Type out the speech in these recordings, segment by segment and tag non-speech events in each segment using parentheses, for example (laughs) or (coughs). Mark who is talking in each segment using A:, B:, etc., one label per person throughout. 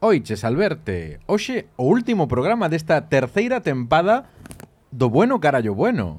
A: Oiches, Alberte. Hoxe o último programa desta terceira tempada do Bueno Carallo Bueno.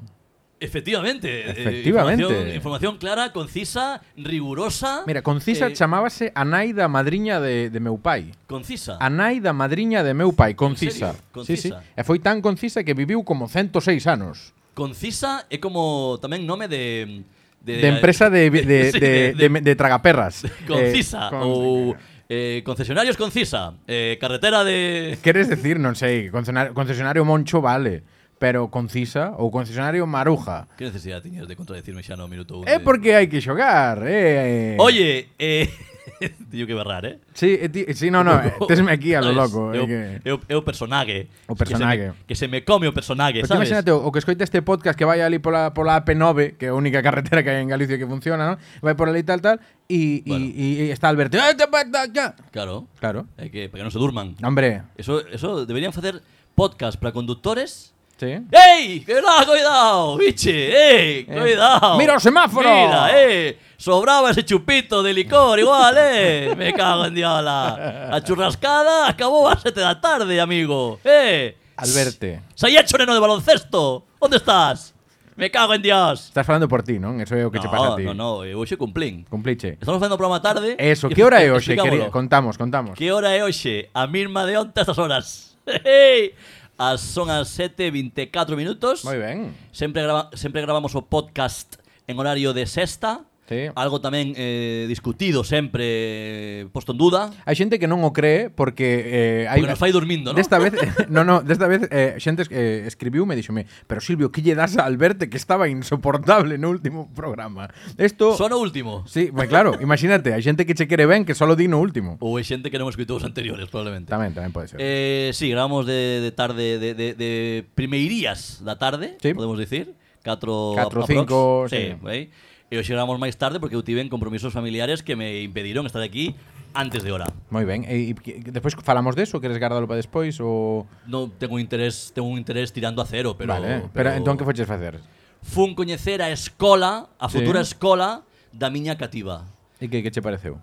B: Efectivamente. eh,
A: Efectivamente.
B: información, información clara, concisa, rigurosa.
A: Mira, concisa
B: eh,
A: chamábase a nai da madriña de, de meu pai.
B: Concisa.
A: A nai da madriña de meu pai, concisa.
B: serio? Concisa.
A: Sí, sí. E foi tan concisa que viviu como 106 anos.
B: Concisa é como tamén nome de...
A: De empresa de, de, de,
B: Eh, (laughs) sí,
A: de, de, de, tragaperras.
B: Concisa.
A: Eh, con-
B: ou eh, concesionarios Concisa. eh, carretera de...
A: Queres decir, non sei, concesiona- concesionario Moncho vale, pero concisa ou concesionario Maruja.
B: Que necesidade tiñes de contradecirme xa no minuto 1?
A: É porque hai que xogar, eh.
B: Oye, eh... (laughs) Tío que berrar, eh?
A: Sí, eh, ti- sí, no, no,
B: (laughs)
A: eh, tesme aquí a lo
B: Sabes,
A: loco.
B: É
A: eh,
B: o,
A: que...
B: é o, é o personaje.
A: O personaje.
B: Que se me, que se me come o personaje,
A: Pero tú
B: sabes?
A: imagínate, o, o que escoita este podcast que vai ali pola, pola AP9, que é a única (laughs) carretera que hai en Galicia que funciona, ¿no? vai por ali tal, tal, e,
B: Bueno.
A: e, e está Alberto. "Ah, te pata, ya".
B: Claro.
A: Claro.
B: É que para que non se durman.
A: Hombre,
B: Eso, eso deberían facer podcast para conductores.
A: sí.
B: ¡Ey! ¡Que no, cuidado! ¡Biche! ¡Ey! ¡Cuidado!
A: Eh, Mira o semáforo.
B: ¡Mira, eh! Sobraba ese chupito de licor igual, eh! ¡Me cago en diola! La churrascada acabó a 7 de la tarde, amigo. ¡Eh!
A: Alberte.
B: ¡Sayá choreno de baloncesto! ¿Dónde estás? ¡Me cago en Dios!
A: Estás falando por ti, non? Eso é o que che pasa a ti.
B: No, no, no, hoxe cumplín.
A: Cumpliche.
B: Estamos facendo o programa tarde. (laughs)
A: Eso,
B: E-
A: que hora é hoxe?
B: explicámolo.
A: Quería- Contamos, contamos.
B: Que hora é hoxe? A mesma de onte a estas horas. (laughs) Ejei. As son as 7:24 minutos.
A: Moi ben.
B: Sempre grava, sempre gravamos o podcast en horario de sexta.
A: Sí.
B: Algo tamén eh, discutido sempre eh, posto en duda.
A: Hai xente que non o cree porque eh, hai
B: Porque nos fai dormindo, non?
A: Desta
B: (laughs)
A: vez, no, no, desta vez eh, xente eh, escribiu me díxome, pero Silvio, que lle das a Alberto que estaba insoportable no último programa. Isto
B: Son o último.
A: Sí, pues claro, imagínate, hai xente que che quere ben que solo di no último.
B: Ou hai xente que non escutou os anteriores, probablemente.
A: Tamén, tamén pode ser.
B: Eh, sí, grabamos de, de tarde, de, de, de primeirías da tarde,
A: Sí.
B: podemos decir. 4
A: Catro, cinco, sí.
B: sí. Aí. E hoxe grabamos máis tarde porque eu tiven compromisos familiares que me impediron estar aquí antes de hora.
A: Moi ben, e, e que- despois falamos deso, queres gardalo para despois ou
B: Non tengo un interés, tengo un interés tirando a cero, pero
A: Vale, eh, pero, entón que foches facer?
B: fun coñecer a escola, a
A: Sí.
B: futura escola da miña cativa.
A: E que que che pareceu?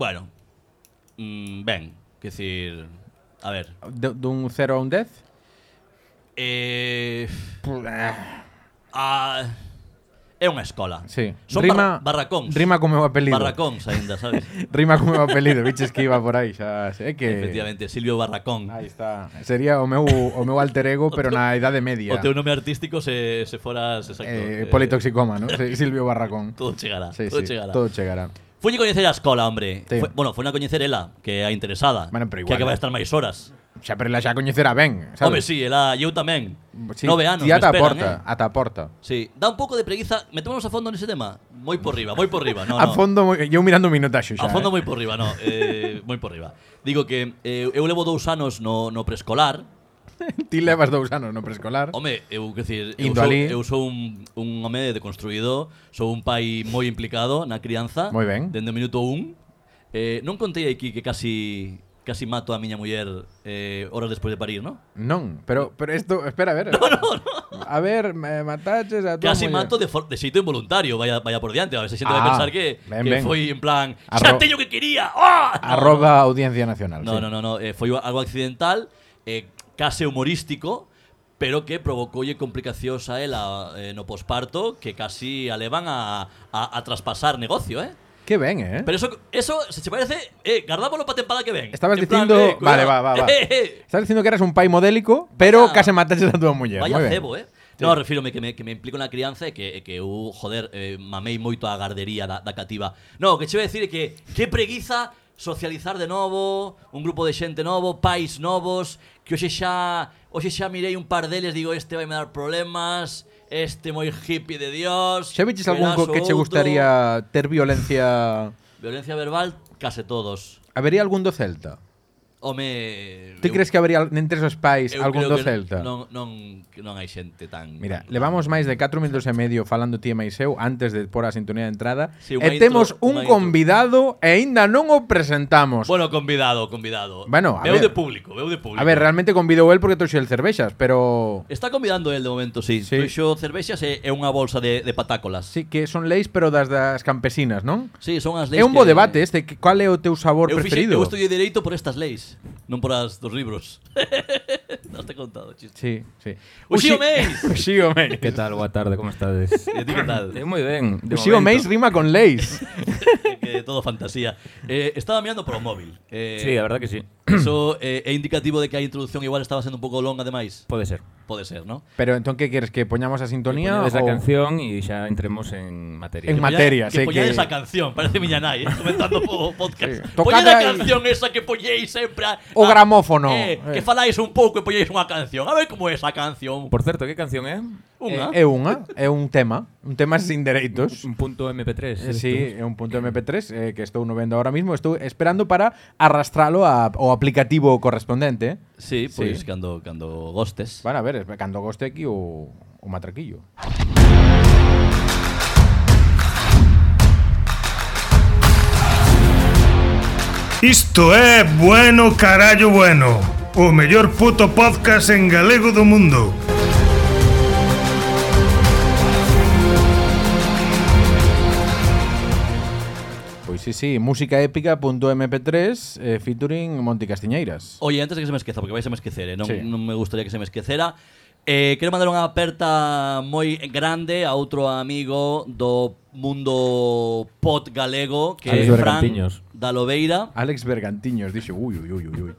B: Bueno. Mm, ben, que decir, a ver.
A: De, dun 0 a un 10?
B: Eh,
A: Pu- ah,
B: a é unha escola.
A: Sí.
B: Son
A: Rima-
B: barra- barracóns.
A: Rima co meu apelido.
B: Barracóns aínda,
A: (laughs)
B: sabes?
A: Rima co meu apelido, biches que iba por aí, xa sei que
B: Efectivamente, Silvio Barracón.
A: Aí está. Sería o meu o meu alter ego, pero na idade media.
B: O teu nome artístico se, se foras exacto.
A: eh, politoxicoma, ¿no? Sí, Silvio Barracón.
B: Todo chegará,
A: Sí,
B: todo
A: sí,
B: chegará.
A: Todo chegará.
B: Fuñe coñecer a escola, hombre.
A: Sí.
B: Fue- bueno, foi a coñecer ela, que é a interesada.
A: Bueno, pero
B: que
A: igual,
B: é que vai
A: eh.
B: estar máis horas.
A: Xa, pero la xa coñecerá ben, sabes?
B: Home, sí, ela, e eu tamén.
A: Sí,
B: Nove anos,
A: ti
B: me
A: ata a
B: esperan,
A: porta,
B: eh.
A: ata a porta.
B: Sí, da un pouco de preguiza. Metémonos a fondo nese tema. Moi por riba, moi por riba. No,
A: a
B: no.
A: fondo, moi- eu mirando o minutaxo xa.
B: A fondo
A: eh.
B: moi por riba, no,
A: (laughs)
B: eh, moi por riba. Digo que eh, eu levo dous anos no, no preescolar,
A: Ti levas dous anos no preescolar.
B: Home, eu, quer decir, eu
A: Indo
B: sou,
A: alí.
B: eu sou un, un home deconstruído, sou un pai moi implicado na crianza.
A: Moi ben.
B: Dende o minuto un. Eh, non contei aquí que casi casi mato a miña muller eh, horas despois de parir, non?
A: Non, pero pero isto, espera a ver. No, no, no. A ver, me mataches a tua
B: Casi
A: muller.
B: mato de, for- de xeito involuntario, vaya, vaya por diante. A veces xente vai
A: Ah,
B: pensar que,
A: ben,
B: que
A: ben.
B: foi en plan
A: Arro-
B: Xa teño que quería! ¡Ah!
A: (laughs) Arroba Audiencia Nacional.
B: No,
A: Ah, sí.
B: no, no, no. eh, foi algo accidental, eh, case humorístico, pero que provocoulle complicacións a ela eh, no posparto que casi a levan a, a, a traspasar negocio, eh?
A: Que ben, eh?
B: Pero eso, eso se te parece, eh, gardámoslo para tempada que ven.
A: Estabas
B: En plan,
A: dicindo-
B: eh, cuidado.
A: vale, va, va, va.
B: (laughs) Eh, eh, eh,
A: Estás dicindo que eras un pai modélico, pero
B: Vaya-
A: case mataches a tua muller.
B: Vaya
A: moi ben.
B: cebo, eh? No, refírome que me, que me implico na crianza e que, e que eu, joder, eh, mamei moito a gardería da, da cativa. No, o que che vou decir é que que preguiza socializar de novo, un grupo de xente novo, pais novos, que hoxe xa, hoxe xa mirei un par deles, digo, este vai me dar problemas, este moi hippie de Dios.
A: Xa viches algún co que che
B: outro.
A: gustaría ter violencia?
B: Violencia verbal, case todos.
A: Habería algún do Celta?
B: Home...
A: Ti
B: eu-
A: crees que habería entre esos pais
B: eu
A: algún
B: creo
A: do
B: que
A: Celta?
B: Non, non, que non hai xente tan...
A: Mira,
B: tan-
A: levamos máis de 4 minutos e medio falando ti e Maiseu antes de pôr a sintonía de entrada.
B: Sí, unha
A: e
B: intro,
A: temos
B: unha
A: un
B: intro.
A: convidado e aínda non o presentamos.
B: Bueno, convidado, convidado.
A: Bueno, a
B: veu
A: ver.
B: de público, veu de público.
A: a ver, realmente convidou el porque trouxe el cervexas, pero
B: Está convidando el de momento, sí.
A: Sí.
B: Trouxo cervexas e, e unha bolsa de, de patácolas.
A: sí que son leis pero das das campesinas, non?
B: Sí, son as
A: É
B: leis
A: un bo
B: que-
A: debate este, que- cal é o teu sabor
B: eu fixe-
A: preferido?
B: eu estudiei dereito por estas leis. meis, non poras dos libros. (laughs) non te he contado, chiste.
A: Sí, sí.
B: Uxío Meis.
A: (laughs) Uxío Meis.
C: Que tal? Boa tarde, como estades?
B: E a ti que tal?
C: (laughs) Eh, moi ben. de
A: Uxío
C: momento.
A: Meis rima con Leis.
B: que todo fantasía. Eh, estaba mirando para o móvil. Eh,
C: Sí, a verdad que sí.
B: Eso eh, é indicativo de que a introducción igual estaba sendo un pouco longa demais.
C: Pode ser.
B: Pode ser, ¿no?
A: Pero entón que queres que poñamos a sintonía
C: Poñades a
A: ou-
C: canción e xa entremos en materia.
A: En
B: Que polla-
A: materia, sí,
B: que poñades
A: que-
B: a canción, parece miña nai, eh, comentando o (laughs)
A: Sí.
B: podcast. Poñed a
A: Tocada el-
B: canción esa que poñéis sempre a-
A: O
B: a-
A: gramófono,
B: Ah, Eh,
A: eh.
B: Que faláis un pouco e poñéis unha canción. A ver como é esa canción.
C: Por certo, que canción é?
B: Unha.
A: eh, É, é unha, é un tema, un tema sin dereitos.
C: Un punto
A: Eh,
C: MP3. isto.
A: Sí, é un punto MP3 eh, que estou no vendo ahora mismo, estou esperando para arrastralo a, ao aplicativo correspondente.
B: Sí,
A: Sí.
B: pois cando cando gostes.
A: Van a ver, espe- cando goste aquí o, o matraquillo.
D: Isto é Bueno Carallo Bueno O mellor puto podcast en galego do mundo
A: Pois sí, sí, musicaépica.mp3 eh, featuring Monti Castiñeiras.
B: Oye, antes de que se me esqueza, porque vais a me esquecer, eh, non,
A: Sí.
B: non me gustaría que se me esquecera. Eh, quero mandar unha aperta moi grande a outro amigo do mundo pot galego que é
C: Alex
B: Fran
C: Bergantiños.
B: da Lobeira.
A: Alex Bergantiños dixo, ui, ui, ui, ui. ui.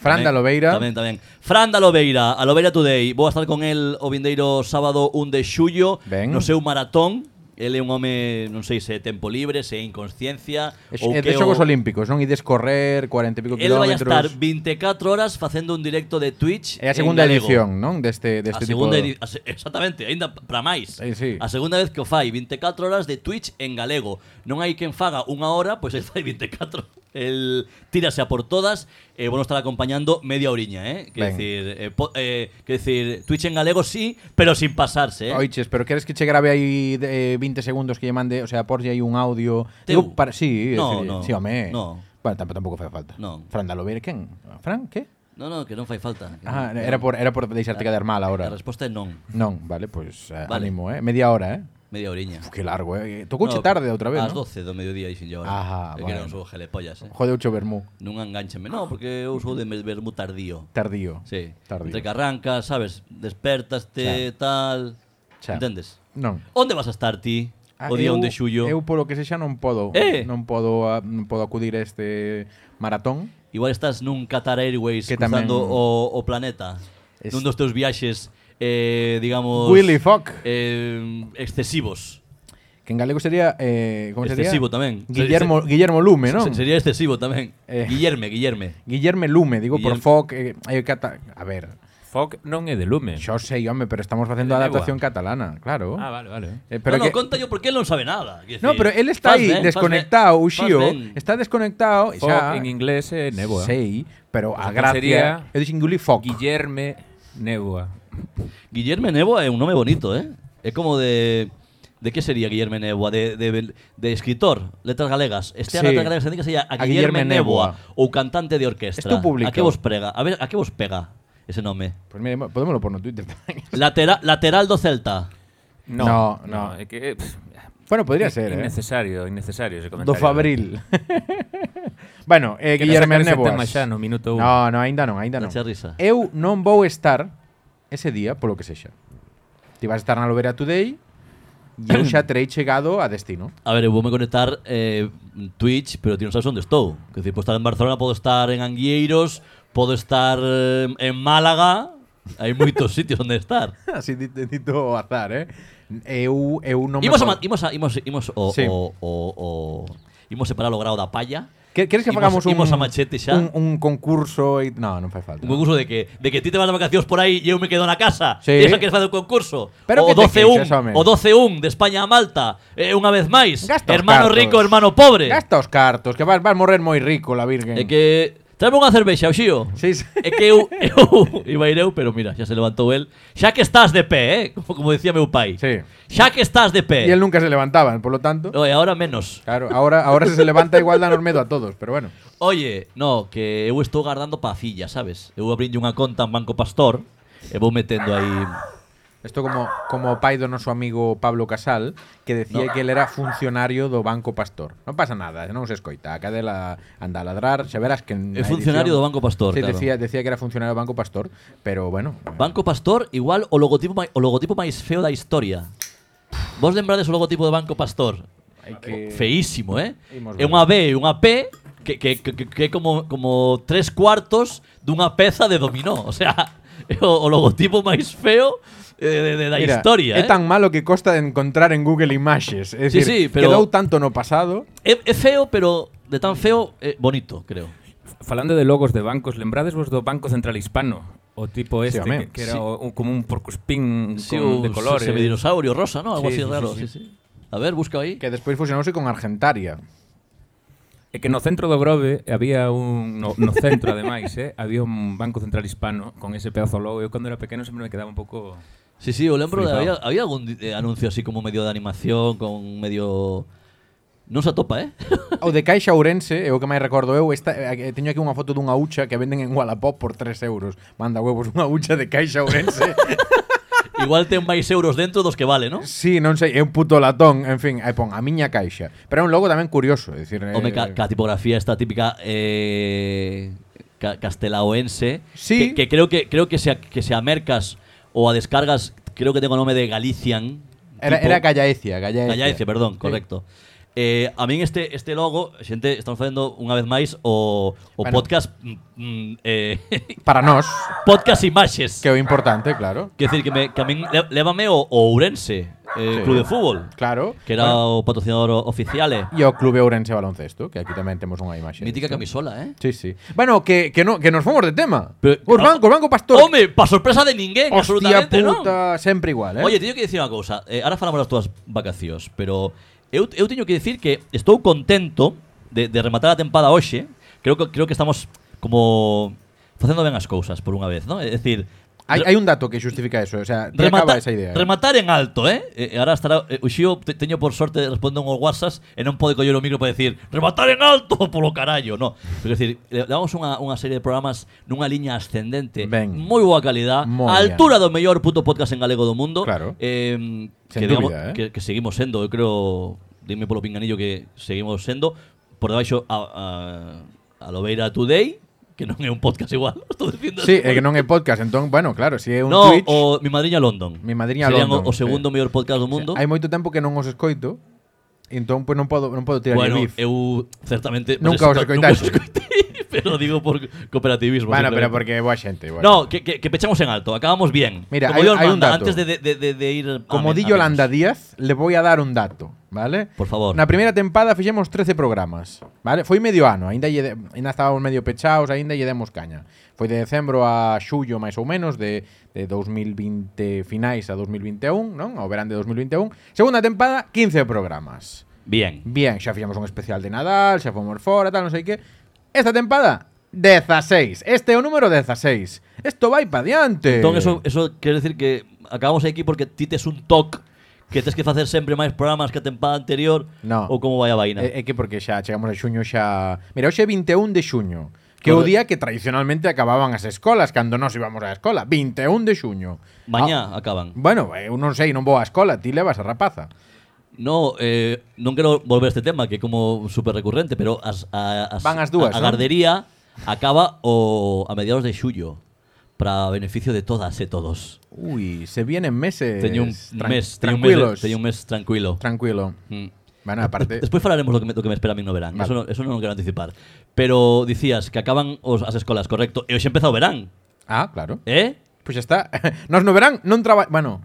A: Fran da
B: Tamén-
A: Lobeira.
B: Tamén, tamén. Fran da Lobeira, a Lobeira Today. Vou a estar con el o vindeiro sábado 1 de xullo
A: Ben.
B: no seu maratón. Ele é un home, non sei se é tempo libre, se é inconsciencia
A: Es,
B: ou
A: é
B: que
A: de xogos
B: o-
A: olímpicos, non? Ides correr 40 e pico
B: Ele vai a
A: kilómetros.
B: estar 24 horas facendo un directo de Twitch
A: É a
B: en
A: segunda
B: galego.
A: edición, non? Deste,
B: a
A: deste tipo
B: segunda edi- a se- exactamente, aínda para máis.
A: Eh, sí.
B: A segunda vez que o fai, 24 horas de Twitch en galego. Non hai quen faga unha hora, pois el fai 24. El tírase a por todas e eh, bueno estar acompañando media oriña, eh?
A: Ben.
B: Quer decir, eh, po- eh, quer decir, Twitch en galego sí, pero sin pasarse, eh?
A: Oiches, pero queres que che grabe aí de, eh, 20 segundos que lle mande, o sea, porlle aí un audio.
B: Teu.
A: Digo, para, sí,
B: No,
A: sí,
B: no,
A: sí, home.
B: no.
A: Bueno, tampoco, tampouco fai falta.
B: No.
A: Fran da Lobeira, quen? Fran, que?
B: No, no, que non fai falta. Que
A: Ah,
B: non-
A: era por era por deixarte quedar mal
B: A
A: agora.
B: resposta é non,
A: Non, vale, pois pues, eh,
B: Ah, Vale.
A: ánimo, eh. Media hora, eh.
B: media oriña.
A: Uf, que largo, eh. Tocouche
B: No,
A: tarde outra vez,
B: Ás
A: non?
B: 12 do mediodía dixen yo
A: Ah,
B: agora. Eh, que
A: bueno.
B: non sou gelepollas, eh?
A: Jodeuche o vermú.
B: Non enganchenme, no, porque eu sou de me- vermú tardío.
A: Tardío.
B: Sí.
A: Tardío.
B: Entre que arrancas, sabes, despertaste, tal.
A: Xa.
B: Entendes?
A: Non.
B: Onde vas a estar ti?
A: Ah,
B: o día
A: eu-
B: onde xullo.
A: Eu polo que sexa non podo,
B: Eh.
A: non podo a- non podo acudir a este maratón.
B: Igual estás nun Qatar Airways
A: Que
B: cruzando
A: tamén-
B: o, o planeta.
A: Es-
B: Nun dos teus viaxes, eh, digamos...
A: Willy Fock.
B: eh, excesivos.
A: Que en galego sería eh, como sería?
B: Excesivo tamén.
A: Guillermo
B: Se- se-
A: Guillermo Lume, non?
B: Se- Sería excesivo tamén.
A: Eh.
B: Guillerme, Guillerme.
A: Guillerme Lume, digo
B: Guillerm-
A: por Foc, eh, eh, cata- a ver,
C: Foc non é de Lume.
A: yo sei, home, pero estamos facendo a
C: De Negua.
A: adaptación catalana, claro.
C: Ah, vale, vale.
A: Eh, pero
B: no,
A: que-
B: no, conta yo porque él non sabe nada. Quer
A: No,
B: decir,
A: pero él está
B: faz
A: ahí
B: ben, faz
A: desconectado, o
B: ben, faz
A: Xío,
B: ben.
A: está desconectado e
C: Foc
A: xa
C: en inglés é Neboa.
A: Sei, pero a
C: Pois
A: gracia,
C: sería
A: eu dixen Gulli Foc.
C: Guillerme Neboa.
B: Guillerme Neboa es un nombre bonito, ¿eh? Es como de. ¿De qué sería Guillerme Neboa? De, de- de escritor, letras galegas. Este
A: Sí.
B: letras galegas se sería a,
A: A Guillerme
B: Guillerme, Neboa,
A: Neboa.
B: o cantante de orquesta.
A: Esto publicado.
B: ¿A qué vos prega? A ver, ¿a qué vos pega ese nombre?
A: Pues mire, podémoslo por no Twitter tamén.
B: Lateral Lateraldo Celta.
A: No, no.
C: É que é pff,
A: (laughs) Bueno, podría ser, eh.
C: innecesario, innecesario ese comentario.
A: Do Fabril. (laughs) bueno, eh,
C: Quería
A: Guillermo
C: sacar ese
A: Neboas.
C: tema xa no minuto un.
A: No, no, aínda non, aínda
B: Non
A: non.
B: che risa.
A: Eu non vou estar ese día polo que sexa. Ti vas estar na Lovera Today e eu xa terei chegado a
B: (laughs)
A: destino.
B: A ver, eu voume conectar eh, Twitch, pero ti non sabes onde estou. Quer dizer, podo estar en Barcelona, podo estar en Anguieiros, podo estar eh, en Málaga. Hai moitos (laughs) sitios onde estar.
A: Así dito, dito ao azar, eh? Eu, eu non
B: Imos,
A: me...
B: a, ma- imos, a, imos, imos o,
A: Sí.
B: o, o, o, imos separar o grau da palla.
A: Que- Queres que
B: imos-
A: fagamos un,
B: imos a machete xa?
A: un, un concurso e... No, non fai falta.
B: Un concurso de que, de que ti te vas de vacacións por aí e eu me quedo na casa.
A: Sí.
B: E esa que facer o concurso.
A: Pero
B: o
A: que te
B: 12-1,
A: queixas, home.
B: o 12-1 de España a Malta. Eh, unha vez máis.
A: Gasta os
B: hermano
A: cartos.
B: rico, hermano pobre.
A: Gasta os cartos, que vas, vas morrer moi rico la virgen.
B: É que Traeme unha cervexa, Oxío.
A: Sí, sí.
B: É que eu, (laughs) eu iba a ir eu, pero mira, xa se levantou el. Xa que estás de pé, eh? Como, como decía meu pai.
A: Sí.
B: Xa que estás de pé.
A: E él nunca se levantaban, por lo tanto...
B: No, e agora menos.
A: Claro, ahora, ahora se se levanta igual danos medo a todos, pero bueno.
B: Oye, no, que eu estou guardando pacilla, sabes? Eu abrinlle unha conta en Banco Pastor e vou metendo aí...
A: Isto como como o pai do noso amigo Pablo Casal, que decía no. que él era funcionario do Banco Pastor. Non pasa nada, non se escoita, a cadela anda a ladrar, xa verás que
B: É funcionario do Banco Pastor,
A: Sí,
B: claro.
A: decía, decía que era funcionario do Banco Pastor, pero bueno,
B: Banco Pastor igual o logotipo mai- o logotipo máis feo da historia. Vos lembrades o logotipo do Banco Pastor?
A: hai que
B: Feísimo, eh?
A: Imos ver.
B: É unha B e unha P que, que, que, que- que é como, como tres cuartos dunha peza de dominó. O sea, (laughs) é o, o logotipo máis feo eh, de, de, da
A: Mira,
B: historia.
A: é
B: eh?
A: tan malo que costa de encontrar en Google Imaxes, é
B: Sí,
A: dicir,
B: sí, pero-
A: quedou tanto no pasado.
B: É, é feo, pero de tan feo, é bonito, creo.
C: Falando de logos de bancos, lembrades vos do Banco Central Hispano? O tipo
A: Sí,
C: este
A: home.
C: que, que
B: Sí.
C: era o- un- como un porcuspín
B: Sí, o
C: con- de colores.
B: semidinosaurio rosa, ¿no? Algo
C: Sí,
B: así
C: sí,
B: raro.
C: sí,
B: Sí, sí. A ver, busca ahí.
A: que despois fusionouse con Argentaria.
C: E que no centro do Grove había un no, no centro ademais, eh, había un Banco Central Hispano con ese pedazo de logo. Eu cando era pequeno sempre me quedaba un pouco
B: Sí, sí, o lembro de,
C: Flipado.
B: había, había algún di- eh, anuncio así como medio de animación, con medio... Non se atopa, eh? (laughs)
A: O de Caixa Ourense, é o que máis recordo eu, esta, eh, teño aquí unha foto dunha hucha que venden en Wallapop por 3 euros. Manda huevos unha hucha de Caixa
B: (laughs)
A: Ourense.
B: Igual ten máis euros dentro dos que vale, ¿no?
A: sí, non sei, é un puto latón, en fin, aí pon a miña Caixa. Pero é un logo tamén curioso, é dicir, eh,
B: Home, ca, ca tipografía esta típica eh, ca- castelaoense
A: Sí.
B: que, que creo que creo que se, a- que se a mercas o a descargas creo que tengo o nome de Galician
A: era,
B: tipo-
A: era Gallaecia, Gallaecia.
B: Gallaece, perdón,
A: Sí.
B: correcto eh, A min este este logo, xente, estamos facendo unha vez máis o, o
A: Bueno.
B: podcast mm, mm, eh, (laughs)
A: Para nós,
B: podcast imaxes
A: que é o importante, claro.
B: Quer decir, que, me, que a min le- lévame o, o Ourense eh,
A: Sí.
B: Club de Fútbol
A: Claro.
B: Que era o patrocinador o- oficial eh.
A: E o Clube Ourense Baloncesto, que aquí tamén temos unha imaxe.
B: Mítica
A: disto.
B: camisola, eh
A: Sí, sí. Bueno, que, que, no, que nos fomos de tema.
B: Pero- ah,
A: os bancos, banco pastor.
B: Home, pa sorpresa de ninguén,
A: Hostia
B: absolutamente, non?
A: puta, sempre igual, eh?
B: Oye, teño que dicir unha cousa. Eh, ahora falamos das túas vacacións, pero eu, eu teño que dicir que estou contento de, de rematar a tempada hoxe. Creo que creo que estamos como facendo ben as cousas por unha vez, non? É dicir,
A: Hai,
B: re-
A: hai un dato que justifica eso, o sea, te acaba esa idea. eh?
B: rematar en alto, eh? E- e ahora estará eh, o Xío te, teño por sorte de responder unhos WhatsApps e non pode coller o micro para decir rematar en alto (laughs) polo carallo, no. Pero é dicir, le- levamos unha, unha serie de programas nunha liña ascendente,
A: Ben.
B: moi boa calidad,
A: Moi
B: a
A: bien.
B: altura do mellor puto podcast en galego do mundo.
A: Claro.
B: Eh,
A: Sen
B: que, digamos,
A: dúbida, eh.
B: que, que seguimos sendo, eu creo, dime polo pinganillo que seguimos sendo por debaixo a, a, a Lobeira Today, que non é un podcast igual, (laughs) estou dicindo
A: Sí, é que non é podcast, entón, bueno, claro, si é un
B: no,
A: Twitch,
B: o Mi Madriña London.
A: Mi Madriña
B: Serían
A: London,
B: o, o segundo
A: sí.
B: mellor podcast do mundo.
A: hai moito tempo que non os escoito, entón pois non podo non podo tirar
B: bueno,
A: o bif.
B: eu certamente
A: Nunca os
B: esco- nunca os escoitei, (laughs) pero digo por cooperativismo.
A: Bueno, pero
B: simplemente.
A: porque é boa xente, bueno.
B: No, que, que, que pechamos en alto, acabamos bien.
A: Mira,
B: como
A: hay-
B: Dios
A: hay un
B: manda,
A: dato.
B: antes de, de- de- de ir. a
A: Como
B: men-
A: di
B: a menos.
A: Yolanda Díaz, le voy a dar un dato, ¿vale?
B: Por favor.
A: Na primeira tempada fixemos 13 programas, ¿vale? Foi medio ano, ainda lle de- ainda estábamos medio pechados, ainda lle demos caña. Foi de decembro a xullo máis ou menos de, de 2020 finais a 2021, e non? Ao verán de 2021. e Segunda tempada, 15 programas.
B: Bien.
A: Bien, xa fixemos un especial de Nadal, xa fomos fora, tal, non sei que. Esta tempada, 16. Este é o número 16. Isto vai pa diante.
B: Entón, eso, eso quere decir que acabamos aquí porque ti tes un toc que tens que facer sempre máis programas que a tempada anterior
A: No. Eh,
B: ou como vai a vaina.
A: É, é que porque xa chegamos a xuño xa... Mira, hoxe é 21 de xuño, que é o
B: Corre-
A: día que tradicionalmente acababan as escolas, cando nós íbamos á escola. 21 de xuño.
B: Mañá
A: Ah,
B: acaban.
A: bueno, eu non sei, non vou á escola, ti levas a rapaza.
B: No, eh, non quero volver a este tema que é como super recurrente, pero as, a, as,
A: Van as dúas,
B: a, a
A: non?
B: gardería acaba o a mediados de xullo para beneficio de todas e todos.
A: Ui, se vienen meses...
B: Teño un
A: tran-
B: mes, teño un mes, de-
A: tranquilos.
B: teño un mes tranquilo.
A: Tranquilo.
B: Mm.
A: Bueno,
B: (laughs)
A: aparte...
B: Despois falaremos do que me, do que me espera a mí no verán.
A: Vale.
B: Eso, non, eso non o quero anticipar. Pero dicías que acaban os, as escolas, correcto. E hoxe empeza o verán,
A: Ah, claro.
B: eh?
A: Pois xa está. (laughs) Nos no verán, non traballo... Bueno,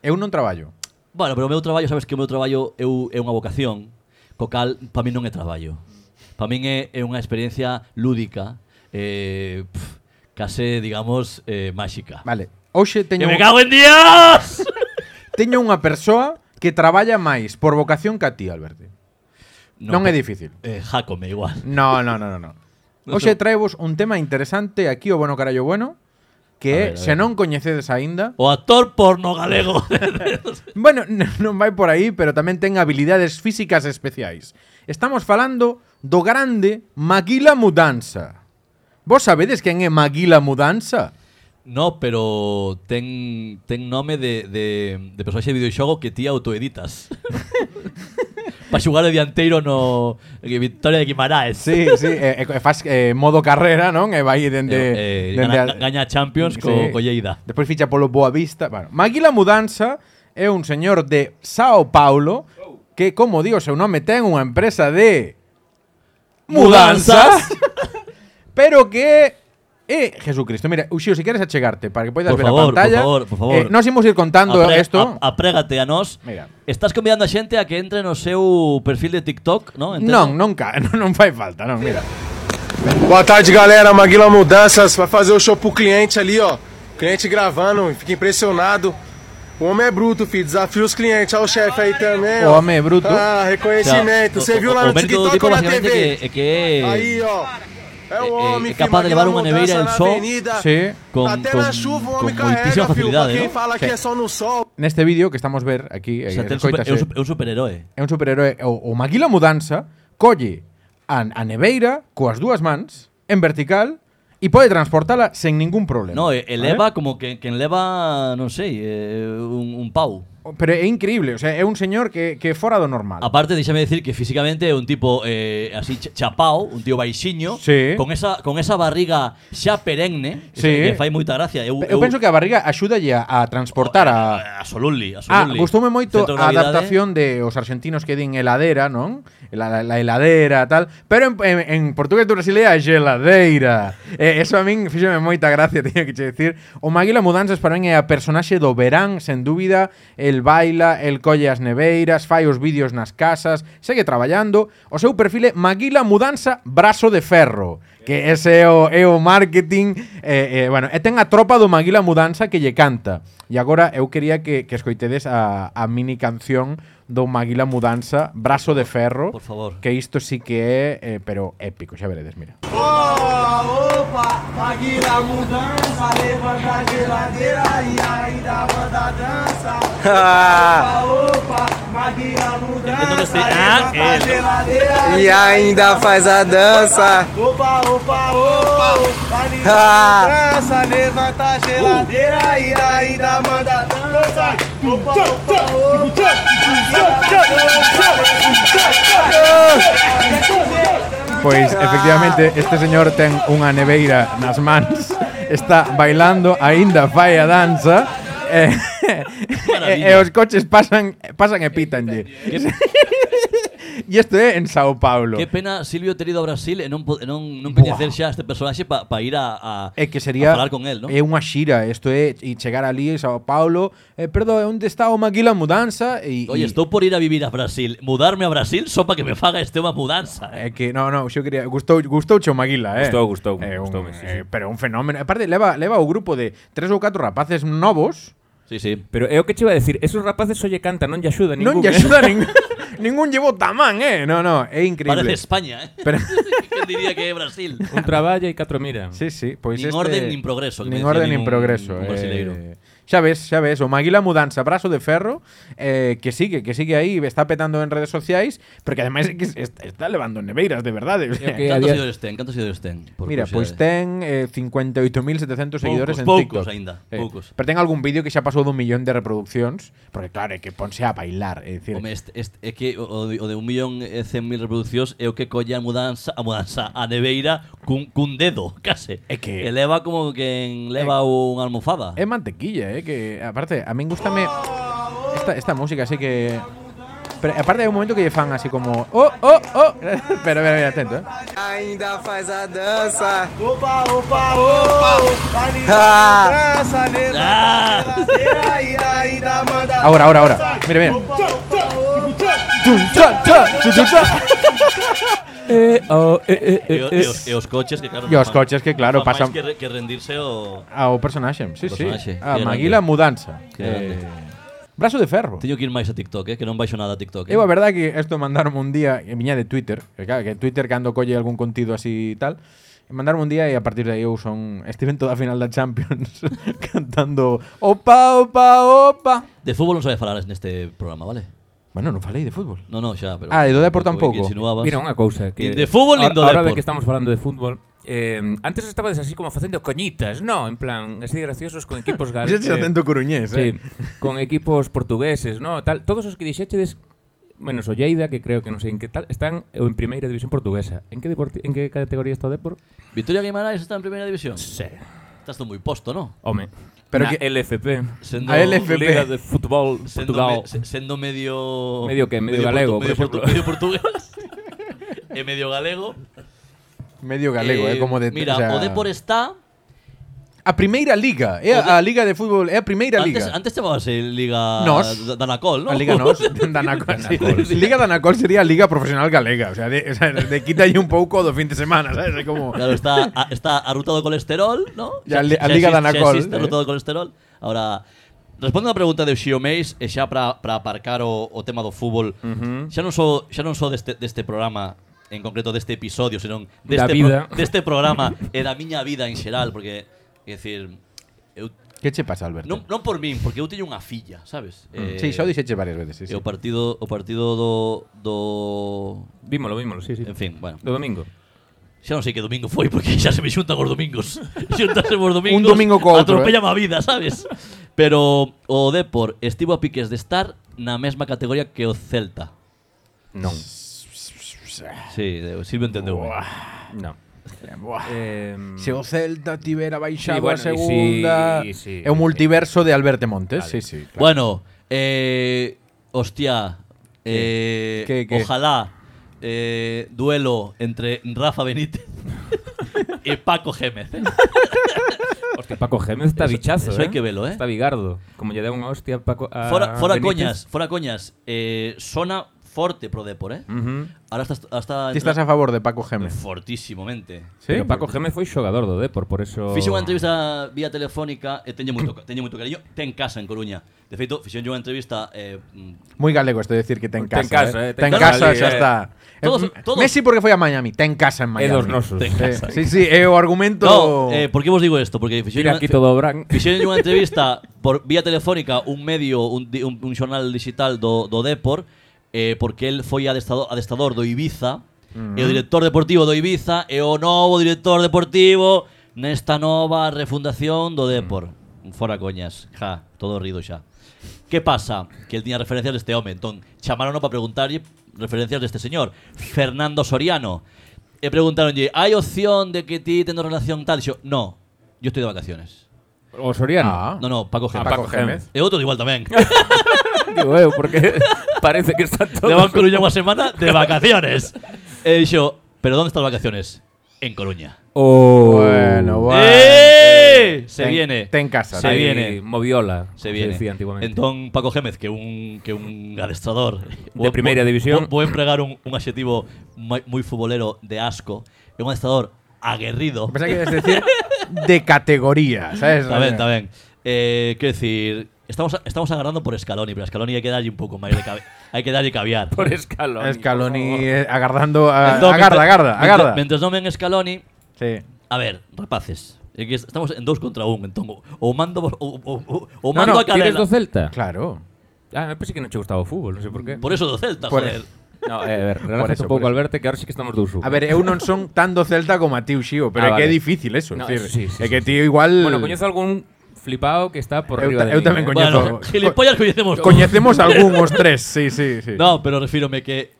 A: eu non traballo.
B: Bueno, pero o meu traballo, sabes que o meu traballo eu, é unha vocación, co cal para min non é traballo. Para min é, é unha experiencia lúdica, eh, pf, case, digamos, eh, máxica.
A: Vale. Hoxe
B: ¡Que
A: teño,
B: me cago en Dios!
A: teño unha persoa que traballa máis por vocación que a ti, Alberto. Non é difícil.
B: Eh, Jácome, igual.
A: No, no, no, no, no. Hoxe traevos un tema interesante aquí o Bueno Carallo Bueno que é,
B: A ver, a
A: se
B: ver.
A: non coñecedes aínda,
B: O actor porno galego. (laughs)
A: bueno, (laughs) n- non vai por aí, pero tamén ten habilidades físicas especiais. Estamos falando do grande Maguila Mudanza. Vos sabedes quen é Maguila Mudanza?
B: No, pero ten, ten nome de, de, de personaxe de videoxogo que ti autoeditas.
A: (laughs)
B: Para xugar o dianteiro no Victoria de Guimaraes.
A: Sí, sí, eh, eh, faz eh, modo carrera, non? E vai dende,
B: Eh, eh,
A: dende
B: gana- gaña Champions co- co Lleida.
A: Despois ficha polo Boa Vista. Bueno, Maguila Mudanza é un señor de Sao Paulo que, como di o seu nome, ten unha empresa de (laughs)
B: Mudanzas.
A: pero que é Jesucristo. Mira, Uxio, se queres achegarte para que poidas
B: Por
A: ver
B: favor,
A: a pantalla.
B: por favor, por favor.
A: eh, nós imos ir contando
B: Apre-
A: isto.
B: a- aprégate a nós.
A: Mira.
B: Estás convidando a xente a que entre no seu perfil de TikTok, non? Entendo.
A: Non, non, ca- (laughs) non, non fai falta, non, mira.
E: Boa tarde, galera. Maguila Mudanças vai fazer o show pro cliente ali, ó. Cliente gravando, fica impressionado. O homem é bruto, filho. Desafia os clientes. Olha o chefe aí também.
A: O
E: ó.
A: homem é bruto.
E: Ah,
B: O sea,
E: reconhecimento.
B: o-
E: Você
B: o-
E: viu lá
B: o
E: no
B: mérito do
E: TikTok
B: tipo
E: ou na
B: basicamente
E: TV?
B: que- é que
E: Aí, ó. É
B: é-
E: o homem,
B: é capaz
E: filho,
B: de levar uma
E: Maguila Mudança
B: neveira em
E: na
B: sol.
E: avenida. Tá
A: Sí.
B: Con,
E: Até
B: con-
E: na chuva o homem
B: con moitísima
E: carrega, filho. Pra
B: facilidade, né?
E: quem
B: non?
E: fala que
A: Sí.
E: é só no sol.
A: Neste este vídeo que estamos ver aquí,
B: O
A: eh,
B: sea, ten super- é
A: escoítase,
B: un super- é un superheroe.
A: é un superheroe o, o Maguila Mudanza colle a, a neveira coas dúas mans en vertical e pode transportala sen ningún problema.
B: No, e- eleva
A: ¿vale?
B: como que, quen leva, non sei, eh, un, un pau.
A: Pero é increíble, o sea, é un señor que que é fora do normal.
B: Aparte, déxame decir que físicamente é un tipo eh, así cha- chapao, un tío baixiño,
A: Sí.
B: con esa con esa barriga xa perenne, que
A: Sí.
B: se- que fai moita gracia. Eu,
A: Eu penso que a barriga axúdalle a, a transportar a
B: Absolutely,
A: Ah,
B: absolutely.
A: gustoume moito
B: Centro
A: a
B: Navidade.
A: adaptación de os argentinos que din heladera, non? La, la, la heladera, tal. Pero en, en, en portugués do Brasil é a geladeira. Eh, eso a min fíxeme moita gracia, (laughs) teño que che dicir. O Maguila Mudanzas para min é a personaxe do verán, sen dúbida. El baila, el colle as neveiras, fai os vídeos nas casas, segue traballando. O seu perfil é Maguila Mudanza Brazo de Ferro. Que ese é o, é o marketing eh, eh, bueno, e ten a tropa do Maguila Mudanza que lle canta E agora eu quería que, que escoitedes a, a mini canción do Maguila Mudanza Brazo de Ferro
B: Por favor.
A: Que isto sí que é, eh, pero épico, xa veredes, mira
F: Boa, opa, Maguila mudança, levanta a geladeira e ainda manda dança.
E: (laughs)
F: Opa, opa, Maguila mudança, levanta a geladeira
E: E ainda faz a dança.
F: Opa, opa, opa, Maguila
E: (laughs) Ah.
F: mudança, levanta a geladeira e ainda manda dança. Opa, opa, opa,
A: Pois, efectivamente, este señor ten unha neveira nas mans (laughs) Está bailando, aínda fai a danza eh, (laughs) e, e os coches pasan pasan e pitanlle (laughs) E isto é en Sao Paulo
B: Qué pena Silvio ter ido a Brasil e non, po- e non, non coñecer xa este personaxe para pa ir a, a,
A: É que sería Eh,
B: a falar con él, non?
A: É unha xira, isto é e chegar ali en Sao Paulo, eh, perdón, onde está o Maguila Mudanza e
B: Oye,
A: e-
B: estou por ir a vivir a Brasil, mudarme a Brasil só para que me faga este unha mudanza.
A: É
B: Eh.
A: que no, no, eu quería gustou gustouche o Maguila, eh.
C: Gustou, gustou,
A: É un,
C: gustoume, sí,
A: eh,
C: sí.
A: pero é un fenómeno. Aparte leva leva o grupo de tres ou catro rapaces novos,
B: Sí, sí.
C: Pero é o que che iba a decir, esos rapaces só lle canta, non lle axuda
A: non
C: ningún.
A: lle
C: eh. (laughs)
A: axuda nin, ningún llevo tamán, eh. No, no, é
B: Parece
A: increíble.
B: España, eh. (laughs)
A: Pero-
B: Quen diría que
A: (laughs)
B: é Brasil?
C: Un traballa e catro mira.
A: Sí, sí, pois
B: Nin
A: este,
B: orden, nin progreso, que
A: Nin
B: me decía
A: orden
B: a
A: nin
B: min un-
A: progreso,
B: un brasileiro.
A: eh. Xa ves, xa ves, o Maguila Mudanza, brazo de ferro, eh, que sigue, que sigue aí, está petando en redes sociais, pero que ademais é que se est- está levando neveiras de verdade. o sea.
C: que
B: Cantos
C: había-
B: seguidores ten? Cantos seguidores ten?
A: (laughs)
B: Por
A: Mira, pois ten eh,
B: curiosidade.
A: 58.700 seguidores en
B: poucos
A: TikTok.
B: aínda,
A: Eh,
B: poucos.
A: Pero ten algún vídeo que xa pasou dun millón de reproduccións, porque claro, é que ponse a bailar, é dicir,
B: Home, este, este, é que o, o de- o de un millón e cen mil reproduccións é o que colle a mudanza a mudanza a neveira cun, cun dedo, (laughs) case.
A: É que-
B: Eleva como quen leva unha almofada.
A: é mantequilla, eh, que aparte a min gustame esta esta música así que Pero aparte hai un momento que lle fan así como oh oh oh, (laughs) pero mira, mira, atento, eh.
E: Ainda faz a dança.
F: opa, opa, opa, Maguila
E: Ah.
F: mudança, levanta
B: Ah!
F: geladeira e ainda manda
A: Ahora, ahora, ahora. Mira, mira. Tum, cha, cha, chu, chu, cha.
C: Eh, oh, eh, eh,
B: E,
C: eh,
B: o-
C: eh.
B: e, os, e os coches que claro
A: E os
B: non fan-
A: coches que, claro,
B: non fan máis
A: pasan-
B: que, re- que rendirse o
A: Ao Ah, personaxe, sí, sí.
B: Personaxe,
A: A
B: que
A: Maguila
B: grande.
A: Mudanza. Eh,
B: Que grande.
A: Brazo de ferro.
B: Teño que ir máis a TikTok, eh, que non baixo nada a TikTok. Eh.
A: Eu a verdad que isto mandaron un día e viña de Twitter, que claro, que Twitter cando colle algún contido así e tal, e mandaron un día e a partir de aí eu son estive en toda a final da Champions (laughs) cantando opa, opa, opa.
B: De fútbol non sabe falar neste programa, vale?
A: Bueno, non falei de fútbol.
B: No, no, xa, pero
A: Ah, e do Depor
B: porque
A: tampouco.
B: insinuabas.
C: Mira, unha cousa que
B: Nin de fútbol, nin do
C: Ahora de
B: Depor.
C: que estamos falando de fútbol, eh, antes estabades así como facendo coñitas, no, en plan, así de graciosos con equipos gal-
A: Ese
C: eh,
A: acento coruñés, eh.
C: Sí, con equipos portugueses, no, tal, todos os que dixéchedes menos o Lleida, que creo que non sei en que tal, están en primeira división portuguesa. En que deporti- en que categoría está o Depor?
B: Victoria Guimarães está en primera división.
C: Sí.
B: Estás tú muy posto, ¿no?
C: Home.
A: Pero
C: Pero na
A: que-
C: LFP,
B: Sendo,
A: A LFP.
C: Liga de Fútbol
B: Sendo,
C: Portugal.
B: me- se- sendo medio.
C: Medio qué, medio galego,
B: portu-
C: por ejemplo.
B: medio, portu- medio
C: (laughs)
B: portugués. e medio galego.
A: Medio galego, eh,
B: Eh,
A: como de
B: Mira,
A: o sea,
B: o Depor está.
A: a primeira liga, é
B: o de-
A: a, a liga de fútbol, é a primeira
B: Antes,
A: liga.
B: antes llamabas el Liga
A: Nos.
B: Da- Danacol, ¿no?
A: A Liga
B: (laughs)
A: Nos, Danacol, sí. Liga Danacol sería a Liga Profesional Galega, o sea, de, o sea, de quitalle un pouco do fin de semana, sabes? É
B: (laughs)
A: como
B: Claro, está, a- está arrutado de colesterol, ¿no?
A: Ya
B: Xa-
A: li- a
B: xa
A: Liga
B: existe- xa
A: Danacol,
B: existe
A: eh.
B: arrutado de colesterol. Ahora, respondo a pregunta de Xio Meis e xa para aparcar o, o tema do fútbol. Xa non só xa non só deste deste programa en concreto deste episodio, senón
C: Da
B: deste
C: vida.
B: pro- (laughs) deste programa e da miña vida en xeral, porque é dicir, eu
A: Que che pasa, Alberto?
B: non, non por min, porque eu teño unha filla, sabes? Eh,
A: Mm. sí, xa o dixeche varias veces, sí, sí.
B: e o partido o partido do do
C: Vímolo, vímolo, sí, sí.
B: en fin, bueno.
C: Do domingo.
B: Xa non sei que domingo foi porque xa se me xuntan os domingos. (laughs) Xuntanse os domingos.
A: Un domingo ¿eh? co outro,
B: Atropella a vida, sabes? Pero o Depor estivo a piques de estar na mesma categoría que o Celta.
C: Non.
B: Sí, de- Silvio entendeu. ben.
C: Non.
A: Buah.
C: Eh,
A: Se o Mm. Celta tivera baixado
C: Sí, bueno,
A: a segunda,
C: e si- e si-
A: é un multiverso de Alberto Montes, sí, sí. Claro.
B: Bueno, eh, hostia, eh,
A: ¿Qué, qué?
B: ojalá eh, duelo entre Rafa Benítez (laughs) y Paco Gémez. ¿eh?
C: Hostia, Paco Gémez está bichazo,
B: eso
C: eh?
B: hay que verlo, eh.
C: Está bigardo. Como lle dá unha hostia a Paco
A: Ah,
C: a
B: Fora, fora coñas,
C: Benítez.
B: fora coñas. eh, sona forte pro Depor, eh.
C: Ujú.
B: Ahora estás, hasta
A: Ti Mm. estás a favor de Paco Gémez.
B: fortísimamente.
A: Sí?
C: Pero Paco Gémez foi xogador do Depor, por eso...
B: Fixen unha entrevista vía telefónica e teño moito, teño moito cariño, ten casa en Coruña. De feito, fixen unha entrevista eh, mm,
A: Moi galego este decir que ten
C: Ten
A: casa.
C: casa, eh, ten
A: ten
C: casa
A: casa,
C: ali,
A: xa
C: eh.
A: está.
B: Todos-
A: Eh,
B: todos-
A: Messi porque foi a Miami, ten casa en
C: É
A: Miami.
C: dos nosos.
B: ten
A: Eh,
B: casa.
A: sí, sí, é o argumento
B: No, eh, por que vos digo isto? Porque fixen
C: Tira aquí todo o
B: (laughs)
C: Bran.
B: Fixeron unha entrevista por vía telefónica un medio, un, di- un, un xornal digital do, do Depor eh, porque el foi adestador, adestador do Ibiza e o director deportivo do Ibiza e o novo director deportivo nesta nova refundación do Depor. Fora coñas, ja, todo rido xa. Que pasa? Que el tiña referencias deste home Entón, chamaron para preguntarlle referencias deste señor Fernando Soriano E preguntaronlle Hai opción de que ti tendo relación tal? E xo, no, yo estoy de vacaciones
C: O Soriano.
A: Ah.
B: No, no, Paco Gémez.
A: Paco, Paco Gémez.
B: E outro igual tamén.
C: Digo eu,
B: (laughs)
C: porque parece que está todo...
B: De van
C: (laughs)
B: Coruña unha semana de vacaciones. E dixo, pero onde estás vacaciones? En Coruña.
C: O...
A: Bueno, bueno.
B: Uh. ¡Eh! Se
A: Ten-
B: viene.
A: ten casa,
B: Se
A: ahí.
B: viene.
C: Moviola,
B: Se viene.
C: decía antiguamente.
B: Entón, Paco Gémez, que un que un adestrador
C: De primeira división.
B: Vou empregar un, un adxetivo moi, moi futbolero de asco. É un adestrador aguerrido.
A: Pensaba que ibas a decir de categoría, sabes?
B: (laughs) Está ben, está ben. Eh, quero dicir, estamos estamos agarrando por Scaloni, pero a Scaloni hai que darlle un pouco máis de cabe, hai que darlle caviar.
C: (laughs) Por Escaloni.
A: Scaloni eh, agardando a,
C: Ah,
B: Entón,
A: agarda,
B: mientras-
A: agarda,
B: mientras-
A: agarda.
B: Mientras non ven Scaloni,
A: Sí.
B: a ver, rapaces, é que estamos en dos contra un, entón, o- o mando o, o, o, o
C: No,
B: mando a
C: no,
B: cadela.
C: tires do Celta.
A: Claro.
C: Ah, me pensé que non che gustaba o fútbol, non sei por qué.
B: Por eso do Celta,
A: Por
B: joder.
C: No, eh, a ver,
A: Por
C: relájate
A: eso,
C: un
A: por
C: pouco,
A: eso.
C: Alberto, que ahora sí que estamos dous
A: A ver, eu non son tan do Celta como a ti, Xio, pero
C: Ah,
A: é que é
C: vale.
A: difícil eso.
C: No,
A: é dicir,
C: eso sí, sí,
A: é
C: sí,
A: que
C: sí.
A: ti igual...
C: Bueno, coñezo algún flipado que está por
A: Eu ta-
C: arriba de
A: eu
C: mí,
A: tamén
C: eh.
A: coñezo.
B: Bueno, gilipollas coñecemos. todos.
A: Coñecemos algún os tres, sí, sí, sí.
B: No, pero refírome que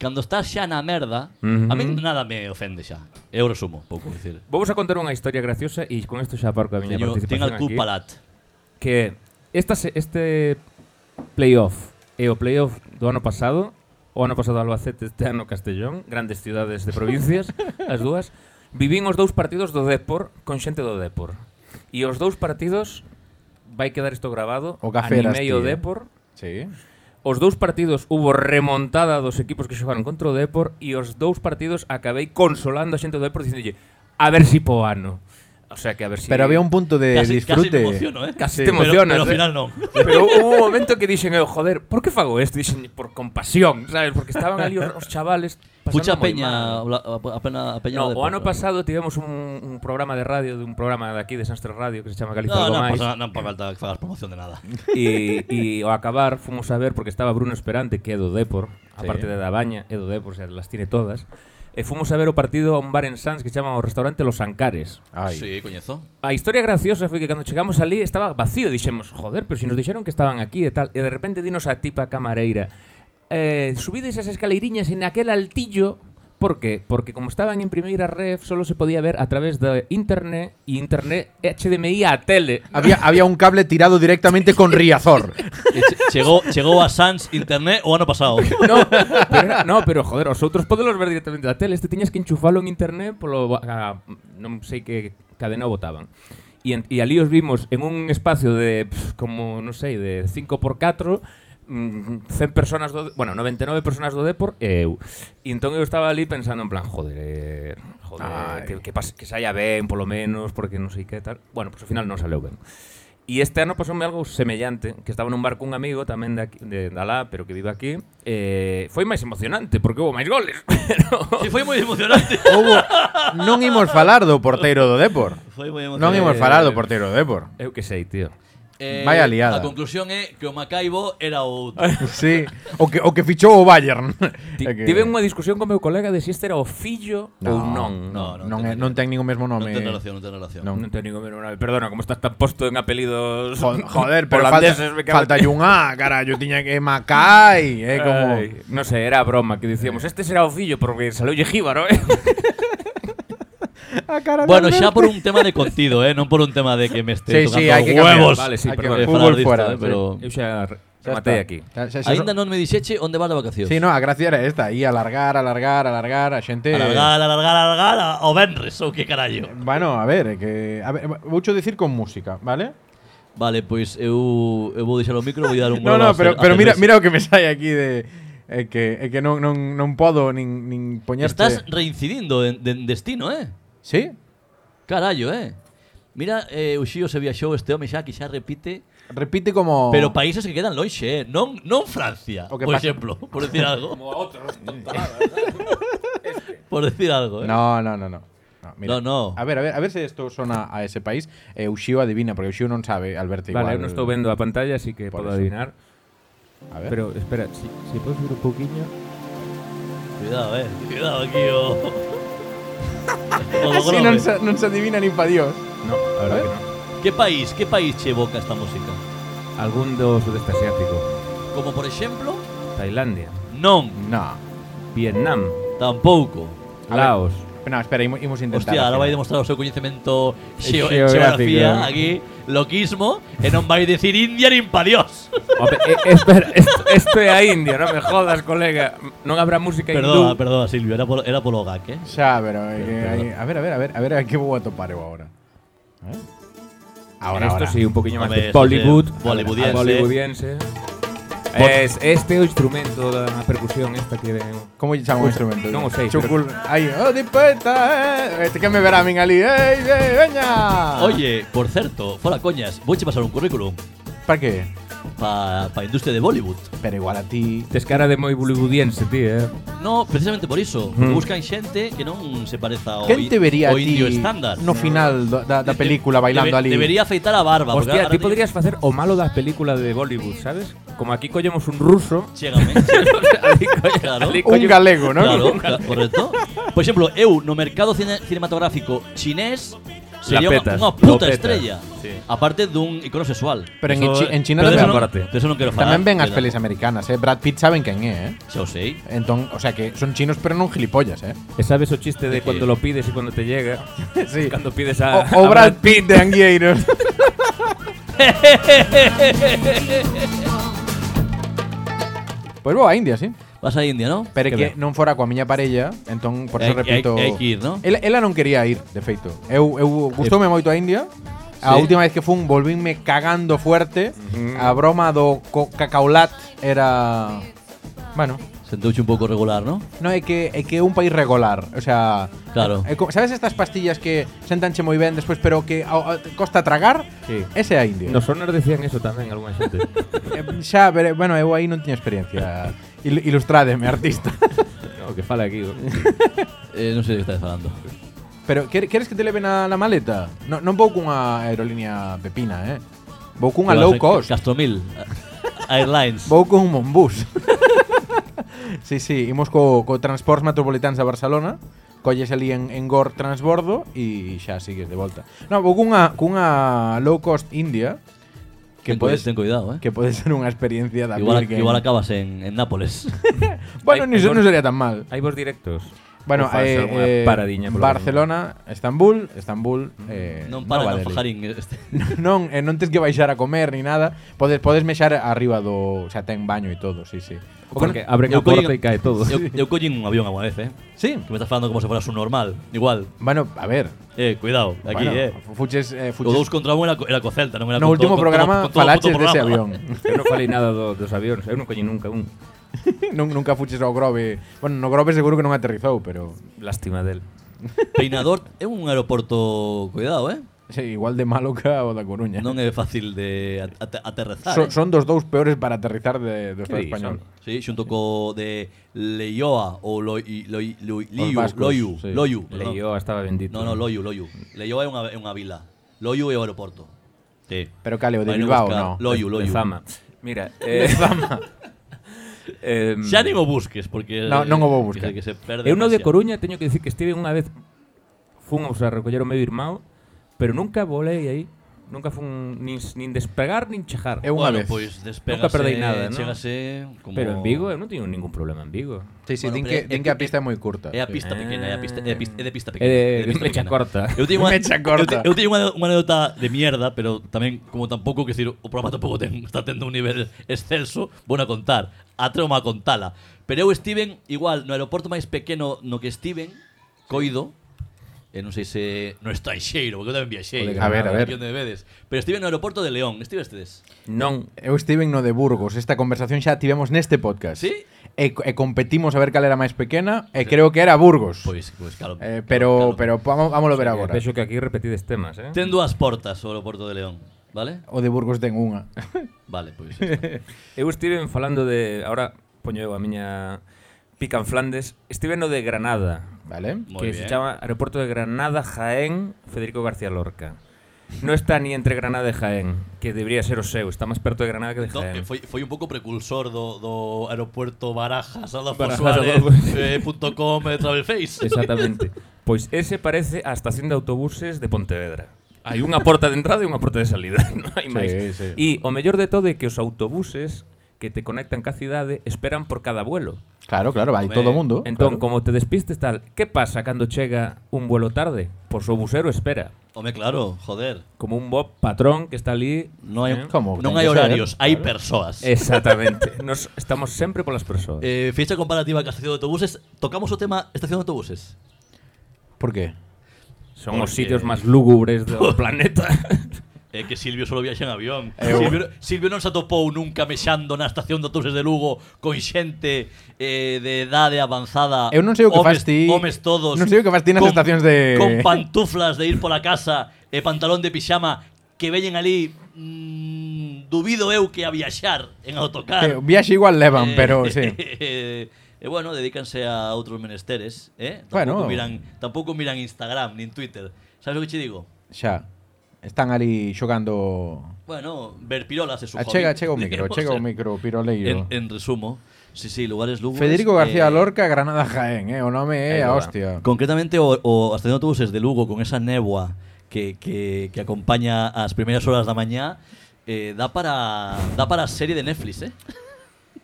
B: cando estás xa na merda, a mí nada me ofende xa. Eu resumo, pouco decir.
C: Vamos a contar unha historia graciosa e con isto xa aparco a miña
B: Teño, ten
C: participación
B: al cul
C: aquí.
B: palat.
C: que esta, se- este playoff e o playoff do ano pasado, o ano pasado Albacete, este ano Castellón, grandes cidades de
A: (laughs)
C: provincias, as dúas, vivín os dous partidos do Depor con xente do Depor. E os dous partidos vai quedar isto grabado,
A: O eh. Gaferas,
C: animei o
A: tío.
C: Depor,
A: Sí.
C: Os dous partidos hubo remontada dos equipos que xogaron contra o Depor e os dous partidos acabei consolando a xente do Depor dicindolle a ver si po ano. O sea que a ver si...
A: Pero había un punto de
B: Casi, casi
A: disfrute.
B: me emociono, eh.
C: Eh,
A: Sí.
C: Casi te
B: Pero- pero,
C: emocionas. eh.
B: ao final non.
C: Pero hubo un momento que dixen, eu, joder, por que fago isto? Dixen, por compasión, sabes? Porque estaban ali os, os chavales pasando
B: Pucha
C: moi
B: peña,
C: mal.
B: la- a- a pena a peña do
C: No, o ano
B: Depor.
C: pasado tivemos un, un programa de radio de un programa de aquí de Sastre Radio que se chama Galiza
B: No,
C: algo
B: non
C: máis
B: pasa, nada, non pa falta que fagas promoción de nada.
C: e, e ao acabar fomos a ver porque estaba Bruno Esperante que é do Depor, aparte de da Baña, é do Depor, o sea, las tiene todas. e fomos a ver o partido a un bar en Sans que chaman o restaurante Los Ancares.
A: Ai.
B: Sí, coñezo.
C: A historia graciosa foi que cando chegamos ali estaba vacío, dixemos, joder, pero se nos dixeron que estaban aquí e tal, e de repente dinos a tipa camareira, eh, subides as escaleiriñas en aquel altillo, por que? Porque como estaban en primeira ref, solo se podía ver a través de internet e internet HDMI a tele.
A: Había, había un cable tirado directamente con
B: (laughs)
A: Riazor.
B: E che- chegou, chegou a Sans Internet o ano pasado.
C: No, pero, era- no, pero joder, os outros podelos ver directamente da tele. Este tiñas que enchufalo en internet polo a, non sei que cadena o botaban. E, en, e ali os vimos en un espacio de pff, como, non sei, de 5x4 mm, 100 personas do, bueno, 99 personas do Depor e eu. E entón eu estaba ali pensando en plan, joder, eh, joder, que, que, pase, que saia ben polo menos, porque non sei que tal. Bueno, pois pues, ao final non saleu ben. E este ano pasoume algo semellante, que estaba nun bar cun amigo tamén de, aquí, de, de alá, pero que vive aquí. Eh, foi máis emocionante, porque houve máis goles. (laughs) Pero-
B: Sí, foi moi (laughs) emocionante.
A: Houbo, non imos falar do porteiro do Depor.
B: Foi moi
A: Non
B: emocionante.
A: imos falar do porteiro do Depor.
C: eu que sei, tío.
B: Eh,
A: Vaya liada.
B: A conclusión é que o Macaibo era o
A: Sí, o que, o que fichou o Bayern. (laughs) É
C: Ti,
A: que-
C: Tive unha discusión con meu colega de se este era o fillo
A: No,
C: ou non.
B: no,
A: non, é- non ten ningún mesmo
B: non
A: nome.
B: ten relación, non ten relación.
A: Non.
C: Non teño ningún nome. Perdona, como estás tan posto en apelidos
A: Jo-
B: (laughs)
A: Joder, pero falta,
C: (laughs) holandeses, me cago en
A: falta
C: ti.
A: un A, carallo, tiña que Macai, é como
C: Ay, non sei, era a broma que dicíamos, este será o fillo porque saloulle
A: (laughs)
C: jíbaro, eh.
B: Bueno, xa por un tema de contido, eh, non por un tema de que me
A: Sí, sí,
B: esté tocando
A: hai que
B: os
A: cambiar.
B: huevos.
C: Vale, sí,
A: Hai que
C: perdón.
A: ver
B: de
A: fútbol
B: falar disto,
A: fuera,
B: eh, pero
C: Eu xa re-
A: Xa
C: rematei
A: está.
C: aquí.
A: Xa- xa- xa-
B: aínda non me dixeche onde vas de vacacións.
A: Sí, no, eh. a gracia era esta, aí alargar, alargar, alargar, a xente
B: Alargar, alargar, alargar a- ao Benres ou que carallo.
A: Bueno, a ver, é que a ver, voucho dicir con música, ¿vale?
B: Vale, pois eu eu vou deixar o micro, vou dar
A: (laughs) No,
B: un huevo
A: no,
B: a
A: pero,
B: Fer- a
A: pero mira,
B: Fernández.
A: mira o que me sai aquí de é que é que non non non podo nin nin poñerte.
B: Estás reincidindo en, en destino, eh?
A: Sí?
B: Carallo, eh? Mira, eh, o Xío se viaxou este home xa que xa repite
A: Repite como
B: Pero países que quedan lonxe, eh? non, non Francia,
A: O que
B: por
A: pasa-
B: exemplo, por
A: (laughs)
B: decir algo. Como outros, (laughs) Por decir algo, eh.
A: No, no, no, no. No,
B: No, no.
A: A ver, a ver, a ver se isto sona a ese país. E o Xio adivina, porque o Xio non sabe, Alberto, igual.
C: Vale, eu non estou vendo a pantalla, así que
A: Por eso.
C: podo
A: ¿Eh?
C: adivinar.
A: A ver.
C: Pero espera, si, si podes ver un pouquiño.
B: Cuidado, eh. Cuidado aquí, o... o
A: (laughs)
B: do
A: Así
B: Grove.
A: non Ah, se, non se adivina nin pa Dios.
C: No, a verdade que non.
B: Que país, que país che evoca esta música?
C: Algún do sudeste asiático.
B: Como por exemplo,
C: Tailandia,
B: non,
A: No.
C: Vietnam,
B: tampouco.
A: A
C: Laos.
A: No, espera, imos, imos intentar.
B: Hostia, ahora
A: ao
B: vai
A: final.
B: demostrar o seu coñecemento xeo,
A: Xeográfico.
B: xeografía aquí, loquismo, e non vai decir India nin pa
A: (laughs)
B: Dios.
C: Ope, eh, espera, esto, esto é a India, non me jodas, colega. Non habrá música
B: Perdona,
C: hindú.
B: perdona, Silvio, era polo, era polo gag, eh.
A: Xa, pero é que hai, a ver, a ver, a ver, a ver, a que vou a topar eu agora. Eh? Ahora, ahora.
C: Esto sí, un poquillo máis
B: Hombre,
C: de
B: esto
C: Bollywood.
B: sí, bollywoodiense.
C: Bollywoodiense. Es este é o instrumento da percusión esta que ven.
A: Como lle chamo o instrumento?
C: Non o sei,
A: Chucul. Aí, oh, di poeta, eh. Este que me verá a min ali. Ei, ei, veña.
B: Oye, por certo, fora coñas, vouche pasar un currículum
A: Para que?
B: pa, pa industria de Bollywood.
A: Pero igual a ti.
C: Tes cara de moi bollywoodiense, tío, eh.
B: No, precisamente por iso, buscan xente que non se pareza ao,
A: Quen Mm. te
B: in-
A: vería a
B: ao indio
A: ti
B: estándar.
A: no final do- da, da película bailando
B: Debe-
A: ali?
B: Debería afeitar a barba. porque
C: Hostia,
B: ahora
C: ti
B: te- (laughs)
C: podrías facer o malo da película de Bollywood, sabes? Como aquí collemos un ruso,
A: (laughs)
B: Chégame.
C: ali colle,
B: Claro.
C: ali
A: Un
C: colle-
A: galego, non?
B: Claro, ca- correcto. Por exemplo, eu no mercado cine- cinematográfico chinés sería unha,
C: petas,
B: unha puta
C: lo petas.
B: estrella.
C: Sí.
B: Aparte dun icono sexual.
A: Pero en chi- en China tamén-
B: pero de eso non-
C: aparte.
B: de eso non quero falar.
A: Tamén ven as
B: Pero-
A: pelis americanas, eh. Brad Pitt saben quen é, eh.
B: Xa o sei.
A: Entón, o sea que son chinos pero non gilipollas,
B: (laughs)
A: eh.
C: E sabes o chiste de
B: que-
C: cando lo pides e cando te llega?
A: Sí.
B: (laughs)
C: Cando pides a,
A: O, o
C: a
A: Brad Pitt de Angueiros. Pois vou Pues a India, sí.
B: Vas a India, non?
A: Pero é que
B: ben.
A: non fora coa miña parella, entón por eso
B: Hai-
A: repito.
B: hai- hai que ir, non?
A: Ela, ela non quería ir, de feito. Eu eu gustoume moito a India. A
B: Sí.
A: última vez que fun volvinme cagando fuerte. A broma do co- cacaulat era bueno,
B: Sentouche un pouco regular, non?
A: no é que é que é un país regular, o sea,
B: Claro.
A: é co- sabes estas pastillas que sentanche moi ben despois pero que ao- ao- costa tragar?
C: Sí.
A: Ese é a India.
C: Nos sonar decían eso tamén algunha (laughs) xente.
A: Eh, Xa, pero, bueno, eu aí non tiña
B: (laughs)
A: experiencia. Il ilustrademe, artista.
C: o que fala aquí. o-
B: Eh, non sei de que estás falando.
A: Pero quer- queres que te leven a na maleta? No, non vou cunha aerolínea pepina, eh. Vou cunha
B: Vas
A: low
B: a eh,
A: cost. (laughs)
B: Castromil. Airlines.
A: Vou cun Monbus. Sí, sí, imos co, co Transports Metropolitans a Barcelona Colles ali en, en Gor Transbordo E xa sigues de volta Non, vou cunha, cunha low cost India Que
B: Ten
A: podes
B: cuidado, ten cuidado, eh.
A: que pode ser unha experiencia da Bill
B: Igual,
A: Gates.
B: igual acabas en, en Nápoles.
A: (laughs) Bueno,
C: Ai,
A: niso
C: ai,
A: non
C: por-
A: sería tan mal
C: Hai vos directos.
A: Bueno,
C: Ou faz
A: eh,
C: algunha
A: eh,
C: paradiña polo
A: Barcelona, Estambul, Estambul, eh,
B: non para
A: Nova
B: no
A: Delhi.
B: fajarín este.
A: (laughs) non, eh, non tes que baixar a comer ni nada. Podes podes mexar arriba do, xa ten baño e todo, sí, sí. O
C: Porque abren
B: Eu
C: a
B: collín-
C: porta e cae todo.
B: Eu, eu collín un avión alguna vez, eh.
A: Sí.
B: Que me estás falando como se fueras un normal. Igual.
A: Bueno, a ver.
B: Eh, cuidado. Aquí,
A: bueno,
B: eh.
A: fuches, eh,
B: O
A: fuches.
B: dous contra un era, co- era co Celta, non era
A: no
B: co-
A: último
B: co- co-
A: programa
B: co- co- co-
A: falaches
B: co-
A: dese
B: programa.
A: avión. (laughs)
C: Eu non falei nada do, dos avións. Eu non coñi nunca un.
A: nun, nunca fuches ao Grove. Bueno, no Grove seguro que non aterrizou, pero
C: Lástima del.
B: (laughs) Peinador é un aeroporto, cuidado, eh.
A: sí, igual de malo ca o da Coruña.
B: Non é fácil de a- a- aterrazar.
A: So-
B: eh.
A: son dos dous peores para aterrizar de, do Estado
C: Que di,
A: español.
C: son-
B: Sí, xunto co de Leioa ou Loi, Loi, Loi, Liu,
A: vascos,
B: Loiu,
A: sí.
B: Loiu, perdón.
C: Leio estaba bendito.
B: No, no, Loiu, Loiu. Leioa é unha, é unha vila. Loiu é o aeroporto. Sí.
A: Pero cale o de
B: Vai no
A: Bilbao,
B: buscar.
A: no.
B: Loiu, Loiu.
C: De fama.
B: (laughs)
C: Mira, eh, de (laughs) fama. eh,
B: Xa nin o busques, porque...
A: No, non o vou buscar.
B: Que se perde
C: eu no de
B: demasiado.
C: Coruña teño que dicir que estive unha vez fomos a recoller o meu irmão, pero nunca volei aí. Nunca fun nin, nin despegar nin chejar.
A: Eu unha
B: bueno,
A: vez.
B: pois despégase,
C: Nunca perdei nada, non?
B: chégase como...
C: Pero en Vigo eu non teño ningún problema en Vigo.
A: Sí, sí, din
B: Bueno, pero
A: que,
B: é-
A: din
B: é
A: que a
B: que-
A: pista é moi curta.
B: É a pista
C: Ah.
B: pequena, é a pista, é a pista, é de pista pequena.
C: Eh,
B: pista
C: mecha
B: pequena.
C: corta.
B: Eu teño
A: (laughs)
B: unha,
A: Mecha corta.
B: Eu, te- eu teño unha, unha anécdota de mierda, pero tamén como tampouco, que decir, o programa tampouco ten, (laughs) está tendo un nivel excelso, bueno a contar, atrevo a contala. Pero eu estiven igual no aeroporto máis pequeno no que estiven, Coido, e non sei se no estranxeiro, porque eu tamén viaxei.
A: Joder, a ver, a ver.
B: Millón de veces. Pero estive no aeroporto de León, estivestedes?
C: Non.
A: Eu estive no de Burgos, esta conversación xa a tivemos neste podcast.
B: Sí?
A: E, co- e competimos a ver cal era máis pequena, e creo que era Burgos.
B: Pois, pois claro.
A: Eh, pero
B: claro.
A: pero vamos, vámolo ver agora.
C: Eh, Vexo que aquí repetides temas, eh?
B: Ten dúas portas o aeroporto de León, vale?
A: O de Burgos ten unha.
B: Vale, pois. ya está.
C: Eu estive falando de... Ahora poño eu a miña pica en Flandes. Estive no de Granada.
A: Vale?
B: Moi
C: que
B: bien.
C: se llama Aeropuerto de Granada Jaén Federico García Lorca. No está ni entre Granada e Jaén, que debería ser o seu, está máis perto de Granada que de
B: No,
C: Jaén.
B: que foi, foi un pouco precursor do, do aeropuerto Barajas, Adolfo
C: Barajas,
B: Suárez,
C: Adolfo.
B: eh, punto com, eh, Travelface.
C: Exactamente. Pois ese parece a estación de autobuses de Pontevedra. Hai unha porta de entrada e unha porta de salida, (laughs) non hai máis.
A: sí.
C: E o mellor de todo é que os autobuses que te conectan ca cidade esperan por cada vuelo.
A: Claro, claro, vai
B: Home,
A: todo o mundo.
C: Eh, Entón,
A: claro.
C: como te despistes tal, que pasa cando chega un vuelo tarde? Pois o busero espera,
B: Home, claro, joder.
C: como un bo patrón que está ali
B: Non hai,
C: Eh,
A: como ten
B: non
A: que
B: hai
A: ser,
B: horarios, hai persoas.
C: Exactamente. (laughs) Nos estamos sempre polas persoas.
B: Eh,
C: Eh,
B: fecha comparativa ca estación de autobuses, tocamos o tema estación de autobuses.
A: Por qué?
C: Son os
B: porque-
C: sitios máis lúgubres do planeta.
B: É que Silvio solo viaxa en avión.
A: Eu-
B: Silvio, Silvio non se atopou nunca mexando na estación de autobuses de Lugo con xente eh, de idade avanzada.
A: Eu non sei o que fas
B: homes,
A: ti-
B: Homes todos.
A: non sei o que fas ti nas
B: con-
A: estacións de-
B: Con pantuflas de ir pola casa e pantalón de pixama que veñen ali mm, dubido eu que a viaxar en autocar.
A: Eh, o viaxe igual levan, pero
B: Eh.
A: sí.
B: (laughs) E bueno, dedícanse a outros menesteres, eh?
A: Bueno.
B: Tampouco miran, tampouco miran Instagram nin Twitter. Sabes o que che digo?
A: Xa. Están ali xogando
B: Bueno, ver pirolas es un
A: Achega,
B: hobby.
A: achega o micro,
B: Digamos,
A: achega o
B: en-
A: micro, piroleiro.
B: En, en resumo, sí, sí, lugares lúgubres.
A: Federico
B: eh,
A: García Lorca, Granada Jaén, eh, o nome é
C: Aí
A: a
C: va.
A: hostia.
B: Concretamente, o, o Estación de Autobuses de Lugo, con esa néboa que, que, que acompaña as primeiras horas da mañá, eh, dá para dá para serie de Netflix, eh?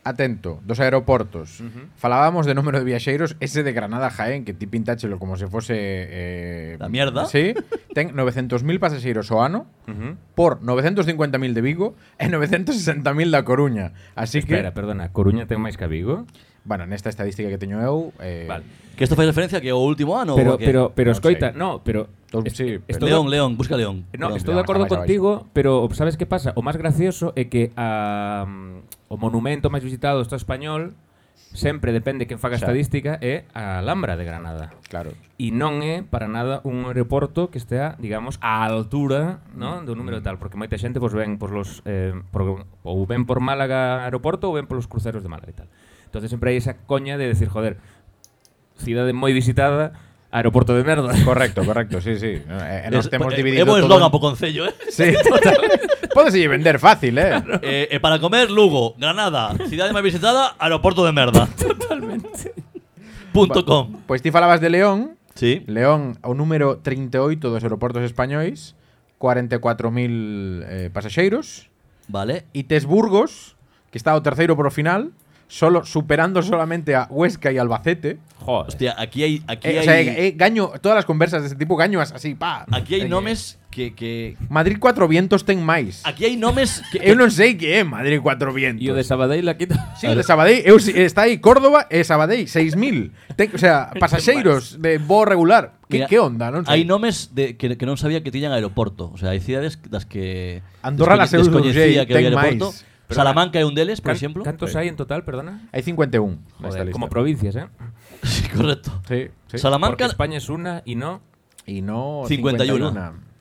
A: Atento, dos aeroportos. Falábamos de número de viaxeiros, ese de Granada Jaén, que ti pintáchelo como se fose eh,
B: Da mierda.
A: Sí, ten 900.000 pasaxeiros o ano
C: Ujú.
A: por 950.000 de Vigo e 960.000 da Coruña. Así que,
C: Espera, perdona, Coruña ten máis que Vigo?
A: bueno, nesta estadística que teño eu, eh,
C: Vale.
B: Que isto fai referencia que o último ano.
C: Pero
B: o que-
C: pero pero
A: non
C: escoita,
A: sei.
C: no, pero
A: Todo-
C: es-
A: sí,
C: estou
B: León,
C: de-
B: León, busca León. Perdón.
C: No, estou de
A: León,
C: acordo
A: está máis
C: contigo, pero sabes que pasa? O máis gracioso é que a, mm, o monumento máis visitado do Estado español sempre depende que faga
A: Xa.
C: estadística é a Alhambra de Granada.
A: claro.
C: E non é para nada un aeroporto que estea, digamos, á altura no? do número tal, porque moita xente pois, ven por los, eh, por, ou ven por Málaga aeroporto ou ven polos cruceros de Málaga e tal. Entonces sempre hai esa coña de decir, joder, cidade moi visitada, Aeropuerto de merda.
A: Correcto, correcto, sí, sí. No, eh, nos
B: Es-
A: temos
B: eh,
A: dividido
B: É buen
A: todo
B: eslogan
A: en-
B: para o Concello, eh?
A: Sí, (laughs) total. Podes ir vender fácil, eh.
B: Eh, eh, Para comer, Lugo, Granada, cidade máis visitada, aeroporto de merda. (laughs) Punto com.
A: Pois Pues ti falabas de León.
B: Sí.
A: León, o número 38 dos aeroportos españois, 44.000 eh, pasaxeiros.
B: Vale.
A: E tes Burgos, que está o terceiro por o final, solo superando solamente a Huesca e Albacete.
C: Joder.
B: Hostia, aquí hai
A: Eh,
B: aquí
A: o
B: hai
A: sea, eh, eh, gaño, todas as conversas deste tipo gaño as- así, pa.
B: aquí
A: Eh,
B: hai nomes que que
A: Madrid 4 vientos ten máis.
B: aquí hai nomes que
A: Eu non sei que é Madrid 4
C: E o de
A: vientos.
C: Sabadell la quita.
A: Sí, o de Sabadell, eu, si- está aí Córdoba e Sabadell, 6.000. Ten, o
B: (laughs)
A: sea, pasaxeiros de bo regular. Que,
B: Mira,
A: que onda, non sei.
B: Hai nomes de, que, que non sabía que tiñan aeroporto. O sea, hai cidades das que
A: Andorra la
B: descoñe-
A: Seu
B: descoñecía
A: Urgell,
B: que había
A: ten
B: aeroporto.
A: máis.
B: Pero Salamanca é un deles, por
C: Can-
B: exemplo.
C: ¿Cantos hay en total, perdona?
A: Hai 51 nesta
C: Joder,
A: lista.
C: como provincias, ¿eh?
B: (laughs) Sí, correcto.
A: Sí, sí.
C: Porque
B: Salamanca,
C: España es una y no.
A: Y no
B: 51.
A: 51.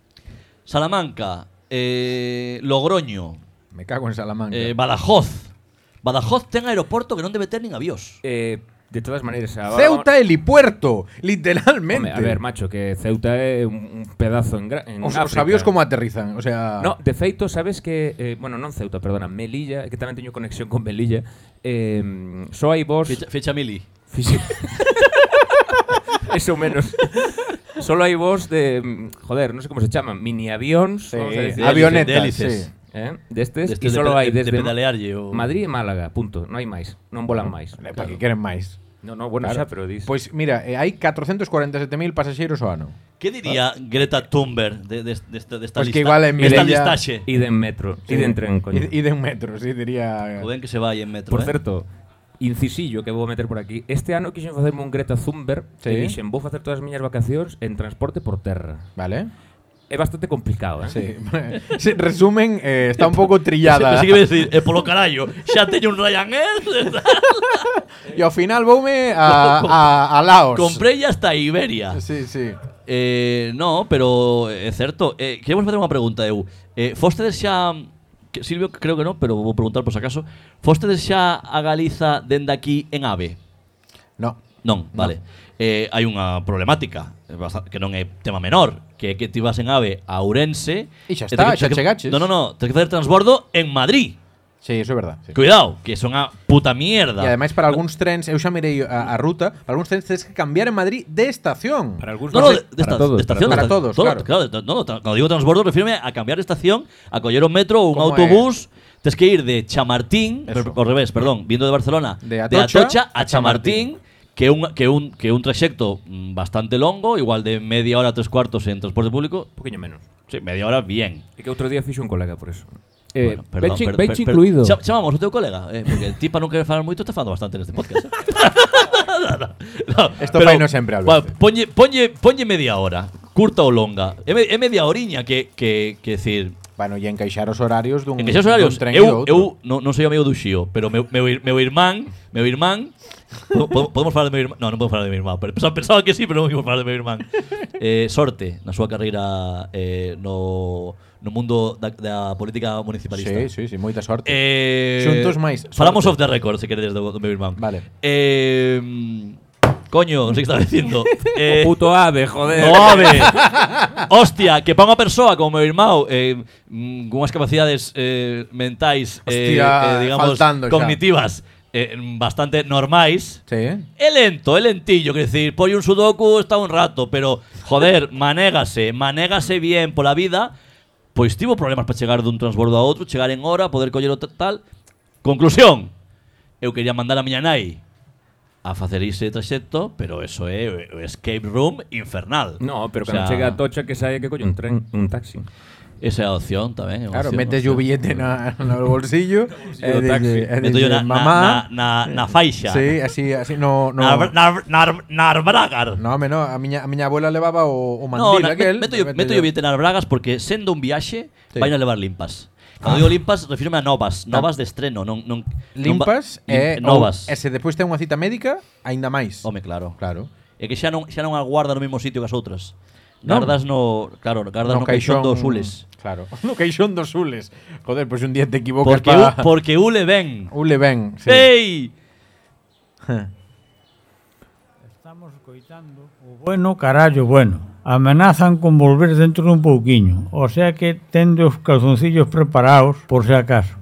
B: Salamanca, eh, Logroño,
A: Me cago en Salamanca.
B: eh, Badajoz. Badajoz ten aeroporto que non debe ter nin avións.
C: Eh, de todas maneras, ahora vamos-
A: Ceuta helipuerto,
C: Hombre,
A: literalmente.
C: a ver, macho, que Ceuta é un, un pedazo en, gra- en
A: os, os
C: África.
A: avións como aterrizan, o sea,
C: No, de feito, sabes que... eh, bueno, non Ceuta, perdona, Melilla, que tamén teño conexión con Melilla. Eh, só hai vos...
B: Fecha, fecha mili.
C: Fixi- (laughs) Eso menos. Solo hai vos de... mm, Joder, non sei como se chaman. Mini avións.
A: sí,
C: vamos a decir,
B: de
A: avionetas,
B: hélices.
A: sí.
C: eh, destes.
B: Destes
C: E
B: Este de
C: solo
B: pe-
C: hai
B: de- de
C: desde
B: pedalearlle o-
C: Madrid e Málaga, punto. Non hai máis. Non volan máis.
A: Para que queren máis.
C: No, no, bueno,
A: Claro.
C: xa, pero dis...
A: Pois mira, eh, hai 447.000 pasaxeiros o ah, ano.
B: Que diría Greta Thunberg de, de, desta de, desta
A: Pois
B: lista?
A: Pues que igual en Mirella-
B: Esta listaxe.
C: Iden metro, sí. iden tren, coño.
A: E, e de un metro, sí, diría.
B: O ben que se vai en metro,
C: Por
B: eh?
C: certo, incisillo que vou meter por aquí. Este ano quixen facerme un Greta Thunberg
A: Sí.
C: sí. e dixen vou facer todas as miñas vacacións en transporte por terra.
A: Vale?
C: É bastante complicado, eh? (laughs)
A: Sí. Sí, Resumen, eh, está un pouco trillada.
B: Pensei que iba a decir, eh, polo carallo, xa teño un Ryanair, (laughs)
A: Pues- E ao final voume
C: (laughs)
A: a, a, a Laos.
B: comprei hasta Iberia.
A: Sí, sí.
B: Eh, no, pero é certo. Eh, queremos facer unha pregunta eu. Eh, fostedes xa que Silvio creo que non, pero vou preguntar por se acaso. Fostedes xa a Galiza dende aquí en AVE?
A: No.
B: Non, vale. Eh, hai unha problemática eh, basta- que non é tema menor, que é que ti vas en AVE a Ourense
A: E xa
B: e
A: está,
B: tes que-
A: xa
B: tes que-
A: chegaches.
B: Non, non, non, tens que facer transbordo en Madrid.
A: Sí, eso é verdade. Sí.
B: Cuidado, que son a puta mierda.
A: E ademais para algúns trens, eu xa mirei eh, a, a ruta, para algúns trens tens que cambiar en Madrid de estación.
C: Para algúns
B: No, no, de, de esta- de estación.
A: para
B: de esta-
A: todos,
B: todo,
A: claro.
B: de- no, no, tra- cuando digo transbordo, refiero a cambiar de estación, a coger un metro o un
A: ¿Cómo
B: autobús. Tienes que ir de Chamartín,
A: Eso.
B: per- al revés, perdón, viendo de Barcelona,
A: De Atocha a
B: a
A: Chamartín.
B: Chamartín, que un, que, un, que un trayecto mm, bastante longo, igual de media hora, tres cuartos en transporte público.
C: Un poquinho menos.
B: Sí, media hora, bien.
C: E que outro día fixo un colega por eso. Eh,
B: Bueno, perdón,
C: Benchi,
B: per-
C: Benchi
B: per- per-
C: incluído.
B: Cha- chamamos a teu colega, eh, porque el tipa non quere falar moito, está falando bastante neste podcast. eh. (laughs) No,
A: Esto
B: pero-
A: faino sempre, Alberto.
B: Bueno, Ponlle, ponlle, ponlle media hora, curta ou longa. É, me- é media horiña que, que, que decir...
A: Bueno, e encaixar os horarios dun
B: En que xa os horarios,
A: dun tren e do
B: eu,
A: outro.
B: eu non, non sei o amigo do Xío, pero meu, meu, ir- meu irmán, meu irmán, po- po- podemos falar de meu irmán, non, non podemos falar de meu irmán, pero pensaba, pensaba que sí, pero non podemos falar de
A: (laughs)
B: meu irmán. Eh, sorte na súa carreira eh, no, no mundo da, da política municipalista.
A: Sí, sí, sí, moita sorte.
B: Eh,
A: Xuntos máis sorte.
B: Falamos off the record, se queredes, do, do meu irmán.
A: Vale.
B: Eh, coño, non sei que
A: (laughs)
B: estaba dicindo. Eh,
C: O puto ave, joder.
B: no, ave. Hostia, que para unha persoa como meu irmão eh, mm, cunhas capacidades eh, mentais eh,
A: Hostia,
B: eh, digamos
A: faltando xa.
B: cognitivas eh, bastante normais
A: Sí, eh?
B: É lento, é lentillo, quer decir, poi un sudoku está un rato, pero
C: (laughs)
B: joder, manégase, manégase bien pola vida. Pois tivo problemas para chegar dun transbordo a outro, chegar en hora, poder coller o ta- tal. Conclusión. Eu quería mandar a miña nai a facer ese traxecto, pero eso é o escape room infernal.
C: No, pero
B: O
C: cando
B: sea,
C: chega a Tocha que sae que coño un tren, un taxi.
B: Esa é a opción tamén. é unha
A: Claro,
B: opción,
A: metes
B: opción.
A: o
C: e
A: billete na, no bolsillo, e
C: do
A: dice,
C: taxi.
A: e
C: (laughs)
B: Meto yo
A: dice,
B: na, na,
A: mamá,
B: na, na, na faixa.
A: sí, así, así, no, no,
B: Na, na, na, na bragar.
A: no, home, no, a miña, a miña abuela levaba o, o
B: No,
A: mandil
B: na,
A: aquel.
B: meto, yo,
A: e
B: meto yo billete nas bragas porque sendo un viaxe
A: Sí. Ah.
B: vai a levar limpas. Cando digo limpas, refírome a novas, novas de estreno, non non non va-
A: Limpas
B: lim-
A: e,
B: eh, novas.
A: ou- e se despois ten unha cita médica, aínda máis.
B: Home, claro.
A: Claro.
B: É que xa non xa non aguarda no mesmo sitio que as outras.
A: Non.
B: Gardas no, claro, gardas no, caixón dos ules.
A: Claro. (laughs) No caixón dos ules. Joder, pois un día te equivocas
B: Porque u,
A: pa...
B: porque ule
A: (laughs)
B: ben.
A: Ule ben, sí.
B: Ei!
G: Estamos co escoitando o bueno, carallo, bueno. Amenazan con volver dentro dun pouquiño, o sea que tende os calzoncillos preparados por se acaso.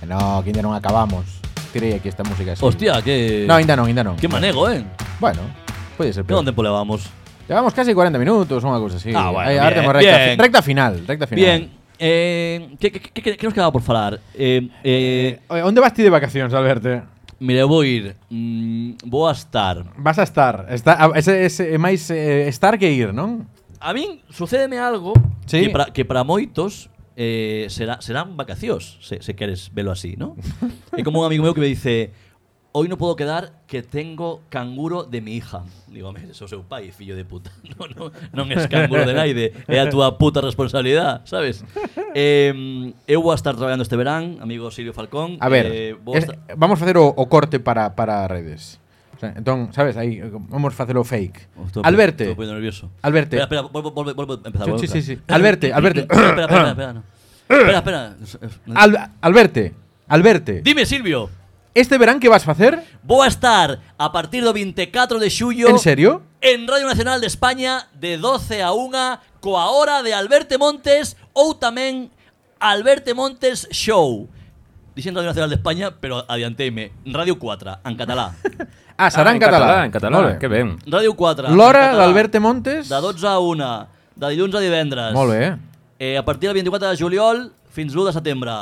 A: Que No, que ainda non acabamos. Tirei aquí esta música así.
B: Hostia, qué.
A: No, ainda non, ainda non.
B: qué manego, ¿eh?
A: Bueno, pode ser.
B: ¿Qué
A: peor.
B: dónde levamos?
A: Llevamos casi 40 minutos, unha cousa así.
B: Ah, bueno,
A: Aí, ahora
B: bien,
A: temos recta,
B: bien.
A: recta final, recta final.
B: Bien. Eh, ¿qué, qué, qué, qué- qué nos quedaba por falar? Eh, eh,
A: Oye, onde vas ti de vacacións, Alberto?
B: mira, eu vou ir. mm, vou a estar.
A: Vas a estar. Está, a- ese, ese, é máis eh, estar que ir, non?
B: A min sucédeme algo
A: Sí.
B: que, para, que para moitos eh, será, serán vacacións, se, se queres velo así,
A: (laughs)
B: ¿no? é como un amigo meu que me dice Hoy no puedo quedar que tengo canguro de mi hija. Digo, "Home, eso é o seu pai, fillo de puta. (laughs) No, no, non es canguro de naide, é a túa puta responsabilidade, sabes?
A: (laughs)
B: Eh, eu vou a estar traballando este verán, amigo Silvio Falcón.
A: A ver,
B: eh, vou a
A: es-
B: estar-
A: vamos facer o, o corte para, para redes. O sea, entón, sabes, aí eh, vamos facelo fake.
B: Oh, estou-
A: Alberto,
B: Estou poniendo nervioso.
A: Alberto.
B: Espera, espera, volve, volve, volve, empezar.
A: Sí,
B: volve,
A: sí, sí,
B: empezar.
A: sí.
B: (coughs)
A: Alberto, Alberto.
B: espera, espera, espera. no. Espera, espera.
A: (coughs) Al, Alberto, Alberto,
B: Dime, Silvio.
A: este verán que vas facer?
B: Vou a estar a partir do 24 de xullo
A: En serio?
B: en Radio Nacional de España de 12 a 1 coa hora de Alberto Montes ou tamén Alberto Montes Show. Dixen Radio Nacional de España, pero adianteime. Radio 4, en
A: (laughs)
B: catalá.
A: Ah, será
C: Ah,
A: en catalán.
C: En catalán,
A: Vale.
C: que ben.
B: Radio 4. en
A: L'hora
B: català,
A: d'Alberto Montes.
B: Da 12 a 1, da dilluns a divendres.
A: Molt bé.
B: Eh, a partir del 24 de juliol fins l'1 de setembre.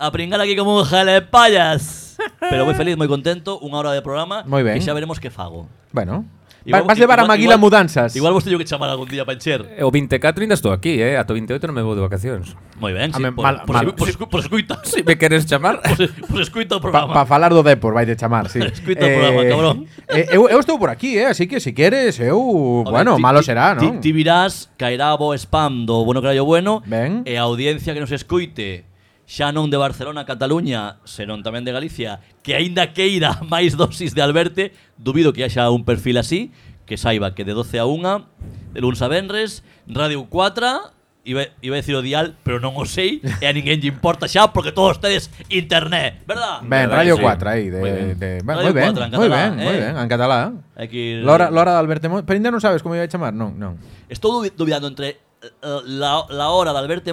B: A pringar aquí como un jalepallas. Pero muy feliz, muy contento, una hora de programa.
A: Moi ben.
B: Y ya veremos qué fago.
A: Bueno.
B: Igual-
A: Va- vas levar a
B: igual-
A: Maguila
B: igual-
A: mudanzas.
B: Igual vos teño que chamar algún día para encher.
C: E O 24 ainda estou aquí, eh? Ata o 28 non me vou de vacacións.
B: Moi ben,
A: A
B: sí,
A: men,
B: por,
A: mal-
B: por,
A: mal-
B: por, escu- por escuita.
C: Si me queres (laughs)
B: (laughs)
C: chamar...
B: Por, por escuita o
A: Para
B: programa.
A: pa falar do Depor, vai de chamar,
B: (laughs)
A: sí.
B: Escuita o programa, cabrón.
A: eh, eu, eu estou por aquí, eh, así que si queres, eu,
B: A ver,
A: Pues bueno,
B: ti-
A: malo
B: ti-
A: será,
B: ti-
A: non?
B: Ti virás, caerá bo spam do Bueno Carallo Bueno
A: Ben.
B: E a audiencia que nos escoite Xa non de Barcelona, Cataluña, senón tamén de Galicia Que aínda queira (laughs) máis dosis de Alberte Dubido que haxa un perfil así Que saiba que de 12 a 1 De luns a venres Radio 4 Iba, iba a decir o dial, pero non o sei E a ninguén lle importa xa porque todos tedes internet Verdad?
A: Ben,
C: Verdad
A: Radio
C: que sí.
A: 4 aí, de,
B: Moi ben.
A: de, ben,
B: Radio
A: moi ben, moi
B: 4 en catalán,
A: ben, moi
B: eh.
A: ben, en catalán.
B: Hai que ir-
A: Lora, Lora de Alberto Montes, pero ainda non sabes como iba a chamar, non, non.
B: Estou dubi- dubidando entre eh, eh, la, la hora de Alberto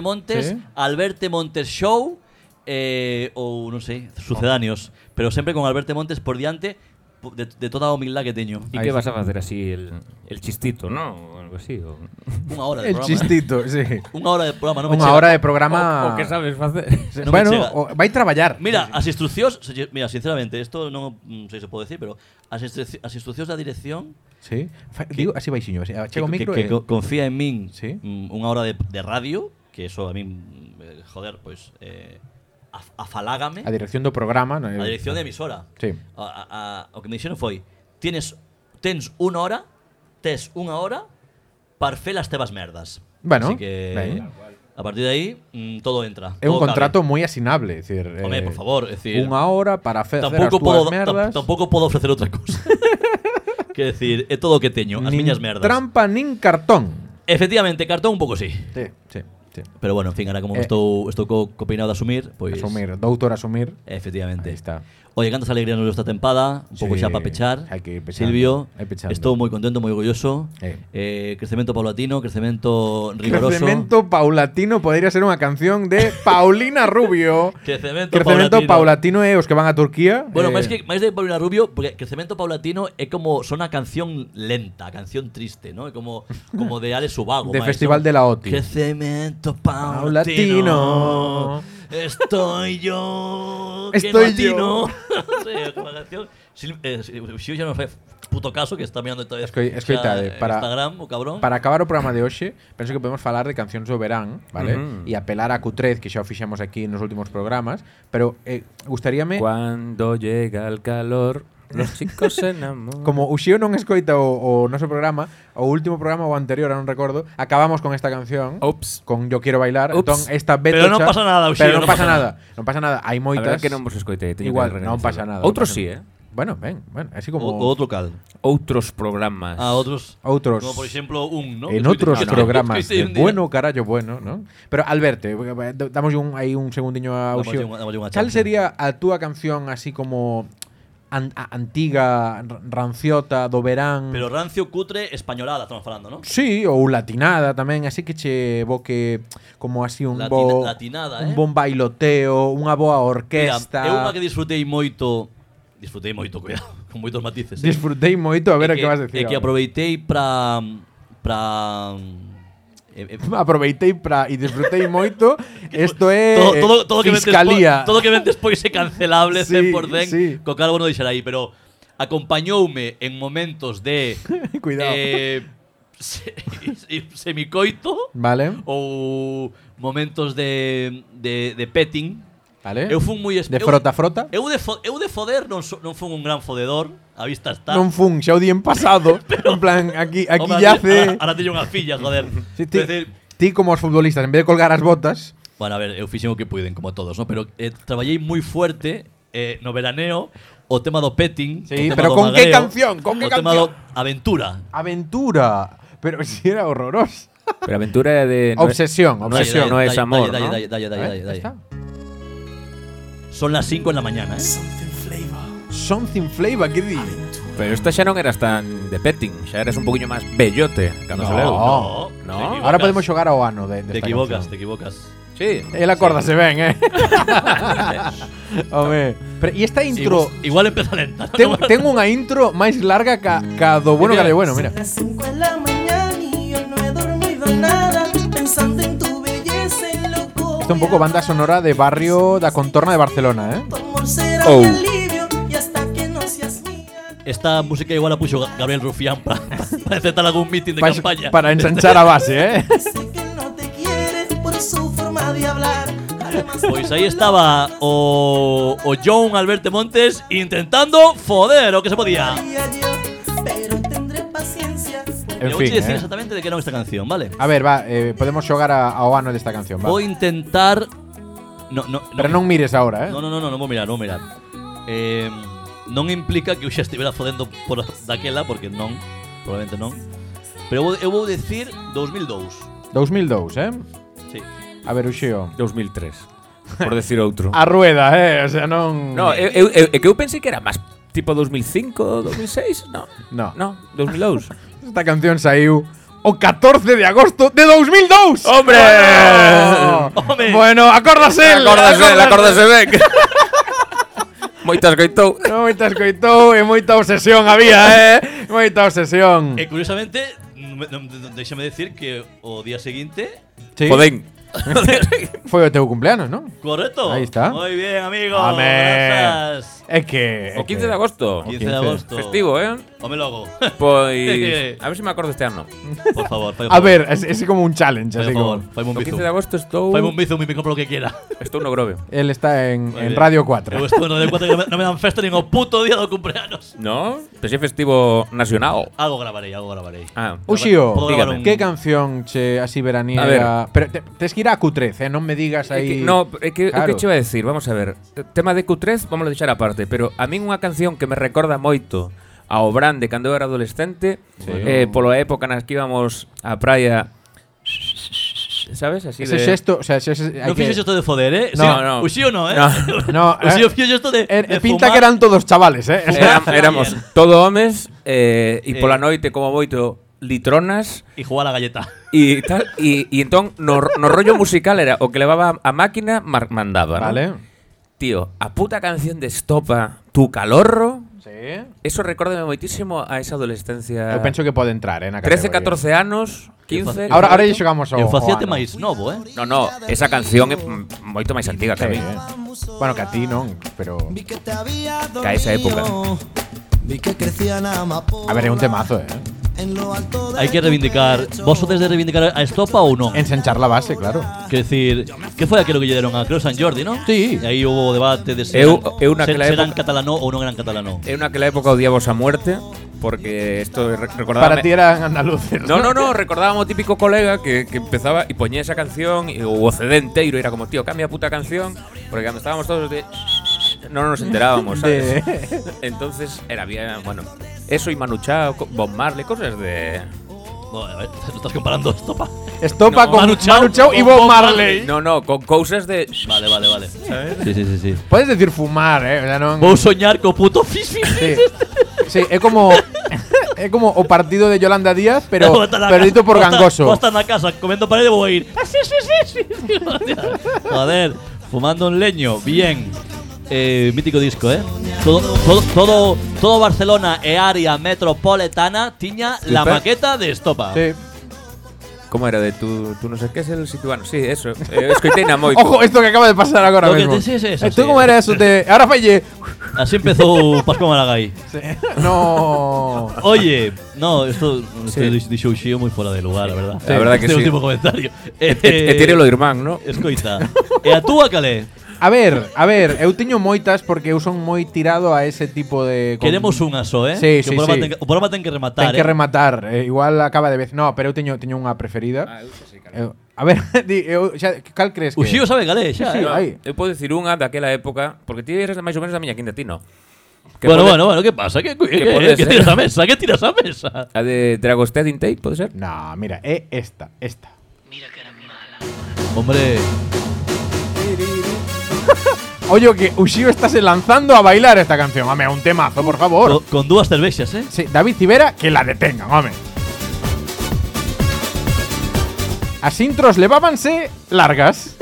A: Sí.
B: Montes, Alberto Montes Show eh, ou non sei, sucedáneos, pero sempre con Alberto Montes por diante po- de, de toda a humildade que teño.
C: E que vas a facer así el, el chistito, no? O algo así. O,
B: Unha hora de
A: El
B: programa.
A: chistito,
B: (laughs)
A: sí.
B: Unha hora de programa, non me
A: Unha
B: chega.
A: hora de programa.
C: o que sabes facer. (laughs)
A: Sí,
B: non me
A: bueno,
B: chega.
A: o, vai traballar.
B: Mira, as instruccións, se lle- mira, sinceramente, isto non mm, sei se pode decir, pero as, instru- as instruccións da dirección
A: Sí. Fa- Digo, así baixinho, así.
B: que,
A: Chega o
B: que-
A: micro
B: que
A: e-
B: co- confía en min
A: Sí.
B: mm, unha hora de, de radio, que eso a min eh, joder, pois pues, eh, af- afalágame.
A: a dirección do programa, non é?
B: A dirección de emisora.
A: Sí.
B: A, a- a- o que me dixeron foi, tienes, tens unha hora, tes unha hora para fer las tebas merdas.
A: Bueno,
B: Así que,
A: ben.
B: a partir de aí, mm, todo entra.
A: É un
B: todo
A: contrato
B: cabe.
A: moi asinable, é dicir, eh,
B: Home, por favor, é dicir,
A: Unha hora para facer as
B: tampouco
A: túas
B: podo,
A: merdas.
B: tam- tampouco podo ofrecer outra
A: (laughs)
B: cousa. que decir, é todo o que teño, as
A: nin
B: miñas merdas.
A: Trampa nin cartón.
B: Efectivamente, cartón un pouco sí.
A: Sí, sí, sí.
B: Pero bueno, en fin, ahora como
A: Eh.
B: estou, estou co, co peinado de asumir, pois...
A: Asumir, doutor asumir.
B: Efectivamente.
A: Ahí está.
B: Oye, cantas alegría nos esta tempada, un pouco
A: Sí,
B: xa para pechar.
A: hai que ir pechando,
B: Silvio,
A: hai pechando.
B: estou moi contento, moi orgulloso.
A: Eh.
B: Eh, crecemento paulatino, crecemento rigoroso.
A: Crecemento paulatino podría ser unha canción de Paulina
B: (laughs)
A: Rubio.
B: Crecemento
A: Crecemento
B: paulatino.
A: paulatino é os que van a Turquía. eh,
B: Bueno, máis que máis de Paulina Rubio, porque crecemento paulatino é como sona canción lenta, canción triste, ¿no? É como como de Alex Ubago,
A: De
B: máis,
A: Festival
B: ¿no?
A: de la OTI.
B: Crecemento paulatino.
A: Paulatino.
B: Estoy yo.
A: Estoy
B: que
A: yo.
B: latino. (laughs) sí, é como a canción. Sil- eh, Sil- Sil ya no fue puto caso que está mirando todavía.
A: Escoi- escoitade, eh, para-
B: Instagram, o cabrón.
A: Para acabar o programa de hoxe, penso que podemos falar de cancións do verán, vale?
C: Ujú.
A: E apelar a Q3, que xa o fixemos aquí nos últimos programas, pero eh, gustaríame
C: Cuando llega el calor, los chicos se enamoran.
A: Como Uxío non escoita o, o noso programa, o último programa o anterior, non recordo, acabamos con esta canción.
C: Ops.
A: Con Yo quiero bailar,
C: Oh.
A: entón
C: Ups.
A: esta veto
B: Pero non
A: xa-
B: pasa nada, Uxío,
A: Pero non
B: non
A: pasa
B: pasa
A: nada. Non pasa nada, hai
C: A
A: moitas.
C: verdad que non vos escoitei. teño
A: Igual,
C: que
A: non
C: recoñecelo.
A: pasa nada, non
C: Outros
A: pasa
C: sí, eh?
A: Bueno, ben, bueno, así como
B: O, o outro caldo.
C: Outros programas.
B: A outros.
A: outros
B: Como por exemplo un, Ah, ¿no?
A: en
B: Que estuviste-
A: outros
B: que estuviste- que (laughs)
A: programas
B: estuviste
A: de
B: un día.
A: bueno, carallo, bueno, ¿no? Pero Alberto, eh, d- damos un, aí un segundiño a
B: Damoslle
A: Uxío.
B: unha- damoslle unha
A: Cal
B: chance.
A: sería a túa canción así como an, a, antiga, r- ranciota, do verán?
B: Pero rancio, cutre, españolada estamos falando, ¿no?
A: Sí, ou latinada tamén, así que che evoque como así un
B: Latina-
A: bo
B: latinada,
A: un
B: eh?
A: bon bailoteo, unha boa
B: Mira,
A: orquesta.
B: é unha que disfrutei moito Disfrutei moito, cuidado (laughs) Con moitos matices eh?
A: (laughs) Disfrutei moito, a ver a
B: É
A: que, vas decir.
B: É que
A: ahora.
B: aproveitei pra Pra
A: (laughs)
B: eh, eh,
A: aproveitei para e disfrutei
B: (laughs)
A: moito. Isto é
B: todo,
A: eh,
B: todo, todo, que ven
A: fiscalía.
B: despois, todo que ven despois é cancelable
A: Sí,
B: 100%
A: sí.
B: Co cargo non deixar aí Pero acompañoume en
A: (laughs)
B: momentos de
A: Cuidado.
B: eh, se, (laughs) se- Semicoito
A: Vale,
B: Ou momentos de, de, de petting
A: vale.
B: Eu fun moi espe-
A: ¿Eh? de
B: eu-
A: frota frota.
B: Eu de, fo- eu de foder non, so, non fun un gran fodedor, a vista está.
A: Non fun xa o día en
B: (laughs)
A: pasado. en plan, aquí aquí
B: Home,
A: yace.
B: Ahora, ahora teño unha filla, joder.
A: (laughs) Sí, ti,
B: Quero decir,
A: ti como os futbolistas, en vez de colgar as botas,
B: bueno, a ver, eu fixen o que puiden, como todos, ¿no? Pero eh, traballei moi fuerte eh, no veraneo o tema do petting.
A: Sí,
B: o tema
A: pero
B: do
A: con que
B: magreo,
A: canción, con que
B: o tema do aventura.
A: aventura. Pero si era horroroso.
C: Pero aventura é de. no é-
A: Obsesión,
C: No es,
A: obsesión.
C: no es
B: Dalle,
C: amor.
B: dalle,
C: ¿no?
B: dalle, dalle, dalle,
A: Eh,
B: dalle,
A: ya
B: dalle.
A: está.
B: Son las 5 en la mañana, ¿eh?
A: Something flavor, que di?
C: Pero esta xa non eras tan de petting, xa eras un poquillo máis bellote cando
A: No.
C: se leu.
A: No,
B: te
C: no.
B: equivocas.
A: Ahora podemos xogar ao ano de,
B: Te
A: desta
B: equivocas,
A: canción.
B: te equivocas.
C: Sí.
A: El acorda se ven, eh. (laughs) Home, pero e esta intro
B: Igual- Igual empieza lenta. ¿no?
A: ten, ten unha intro máis larga ca, ca do bueno
B: Mira.
A: cara de bueno, mira.
H: Las 5 de la mañana y yo no he dormido nada pensando en tu belleza y loco.
A: Isto é un pouco banda sonora de barrio da contorna de Barcelona, eh.
H: Tu amor será
C: Oh.
H: mi alivio y hasta que no seas mía.
B: Esta música igual la puso Ga- Gabriel Rufián (laughs) para, para encetar algún meeting de
A: Pa-
B: campaña.
A: para ensanchar a base, eh.
H: Sé que no te quiere por su forma de hablar. Además,
B: Pois aí Pues estaba o, o John Alberto Montes intentando foder o que se podía.
H: haría yo, pero tendré paciencia.
A: En
B: Eu
A: fin,
B: vouche dicir
A: eh.
B: exactamente de que non esta canción, vale?
A: A ver, va, eh, podemos xogar a- ao ano desta canción, va.
B: Vou intentar no, no, no,
A: Pero non mires ahora, eh.
B: No, no, no, no, non vou mirar, non vou mirar. Eh, non implica que eu xa estivera fodendo por daquela porque non, probablemente non. Pero eu vou, eu vou decir 2002.
A: 2002, eh.
B: Sí.
A: A ver, Uxío.
C: 2003. Por decir
A: (laughs)
C: outro.
A: A rueda, eh, o sea, non
C: no, eu, eu, eu, é que eu pensei que era máis tipo 2005, 2006, no.
A: No.
C: No, 2002.
A: Esta canción saiu o 14 de agosto de 2002.
C: ¡Hombre!
A: Bueno,
B: Home.
A: Bueno, acordas el.
C: Acórdase, acórdase ben. (laughs) Moitas coitou.
A: No, moita escoitou e moita obsesión había, eh? Moita obsesión.
B: E curiosamente, non me- non- non- deixame decir que o día seguinte (laughs)
A: Sí.
C: Podén.
A: Foi o teu cumpleanos, non?
B: Correcto.
A: Ahí está.
B: Muy bien, amigo.
A: Amén.
B: Gracias.
A: É que... é
C: O 15
A: que-
C: de agosto.
A: 15.
B: 15 de agosto.
C: Festivo, eh?
B: Home logo.
C: (laughs) Pois... A ver se me acordo este ano.
B: Por favor, fai un
A: A
B: favor.
A: ver, é, é como un challenge,
B: Fai
A: así
B: un favor.
A: como...
B: Faime un
C: O 15
B: bizu.
C: de agosto estou...
B: Faime un bizu, me compro lo que quiera.
C: Estou no Grove.
A: Él está en,
B: Muy
A: (laughs) en
B: bien.
A: Radio
B: Eu
A: 4.
B: estou en Radio 4 que no me- no me dan festa nin o puto día do cumpleaños.
C: No? Pero si é festivo nacional.
B: Algo grabarei, algo grabarei.
C: Ah.
A: Uxío,
B: Puedo grabar un-
A: que canción che así veraniega...
C: A ver.
A: Pero te, tes que ir a Q13, eh? non me digas
C: É
A: aí...
C: que, no, é que
A: Claro.
C: o que che iba a decir, vamos a ver. O Tema de Q3, vamos a deixar aparte, pero a min unha canción que me recorda moito ao Brande cando eu era adolescente, eh, polo época nas que íbamos á praia ¿Sabes? Así
A: Ese
C: de...
A: xesto, o sea, ese, ese,
B: Non fixo isto de foder, eh?
C: No, no.
B: Uxí o no, eh?
C: No.
B: (laughs)
A: No, eh.
B: Uxío fixo isto de,
A: Er-
B: de
A: pinta
B: fumar.
A: que eran todos chavales,
C: (laughs)
A: eh?
C: Era- éramos todo homes eh, e
B: Eh.
C: pola noite como moito litronas
B: E jugar a la galleta.
C: e tal e, e entón no, no rollo musical era o que levaba a máquina mar- mandaba, ¿no?
A: Vale.
C: Tío, a puta canción de Estopa, Tu calorro,
A: Sí.
C: Eso recórdame moitísimo a esa adolescencia.
A: Eu penso que pode entrar, eh, na
C: 13,
A: categoría.
C: 14 anos, 15.
A: Ahora, ahora lle xogamos ao
B: Eu
A: ao
B: facíate
A: ano.
B: máis novo, eh?
C: No, no, esa canción é mm, moito máis antiga que a
A: Sí,
C: mí.
A: eh. Bueno, que a ti non, pero...
I: Vi que te había
C: Que a esa época.
I: dormido. Vi que crecían amapolas
A: A ver, é un temazo, eh.
I: en lo alto de
B: Hai que
I: tu
B: reivindicar.
I: pecho.
B: Vos sodes de reivindicar a estopa ou non?
A: Ensanchar la base, claro.
B: Quer decir, que foi aquilo que lle deron a Creo San Jordi, non?
A: Sí.
B: E aí houve o debate de se
C: Eu-
B: eran,
C: eu naquela
B: se, se eran
C: época-
B: catalano ou non eran catalano.
C: É unha que la época odiaba a muerte, porque esto re- recordaba...
A: Para ti eran andaluces.
C: No, no, no, recordábamos típico colega que, que empezaba y ponía esa canción y, o CD entero, y era como, tío, cambia a puta canción, porque cuando estábamos todos de... no nos enterábamos, ¿sabes?
A: De-
C: Entonces era bien, bueno, eso y Manu Chao, co- Bob Marley, cosas de...
B: No, a ver, no estás comparando esto, pa.
A: Estopa
C: No,
A: con
B: Manu
A: Manu
B: Chao
A: Chao, y
B: con
A: Bob
B: Bob
A: Marley.
B: Marley.
C: No, no, con cosas de...
B: Vale, vale, vale. Sí, sí, sí, sí.
A: Puedes decir fumar, eh? O sea, non-
B: Vou soñar co puto fis, fis,
A: Sí. (laughs)
B: fis.
A: sí, é como é como o partido de Yolanda Díaz,
B: (laughs)
A: pero
B: Vou estar na
A: pero
B: casa-
A: dito por
B: vou estar- Vou
A: gangoso.
B: estar na casa comiendo paredes vou ir. "Ah, sí, sí, sí, sí". Joder, fumando un leño, bien. Eh, mítico disco, eh. Todo, todo, todo, todo Barcelona e área metropolitana tiña la
C: Super.
B: maqueta de estopa.
A: Sí.
C: ¿Cómo era? De tú, tú no sé qué es el situano. Sí, eso. Eh, escoiteina
A: (laughs)
C: moito.
A: Ojo, esto que acaba de pasar agora
B: Lo que
A: mismo.
B: te- sí, sí, eso
A: Esto
B: sí.
A: como era eso
B: (laughs)
A: de ahora fallé.
B: Así empezó Pascual Maragall.
A: No.
B: Oye, no, esto este
C: Sí.
B: di- dixo un xío moi fora de lugar, a verdad.
C: Sí. A verdad que
B: este
C: sí.
B: último comentario.
C: E, e, e tire lo irmán, ¿no?
B: Escoita. e a túa calé?
A: A ver, a
B: (laughs)
A: ver, eu tiño moitas porque eu son moi tirado a ese tipo de con-
B: Queremos unha só, eh?
A: Sí,
B: que
A: sí,
B: o programa
A: sí.
B: ten que, o programa ten que rematar.
A: Ten que
B: eh?
A: rematar, eh, igual acaba de vez. No, pero eu teño teño unha preferida. Eu- a ver, (laughs) di, eu, xa, cal crees que?
B: O xío sabe calé, xa.
A: Sí,
B: eh?
A: sí, Ai.
C: Eu podo dicir unha daquela época, porque ti eres máis ou menos da miña quinta, ti no.
B: bueno, bueno, bueno, ¿qué pasa? eh, ¿Qué, qué,
C: puede
B: qué, qué
C: ser.
B: tiras a mesa? ¿Qué tiras a mesa?
C: A de Dragostea Dintei, pode ser?
A: No, mira, é esta, esta.
B: Hombre,
A: Oye, que Ushio está se lanzando a bailar esta canción. Home, un temazo, por favor.
C: Oh.
B: con, con dúas cervexas, ¿eh?
A: Sí, David Civera, que la detengan, home. As intros levábanse largas.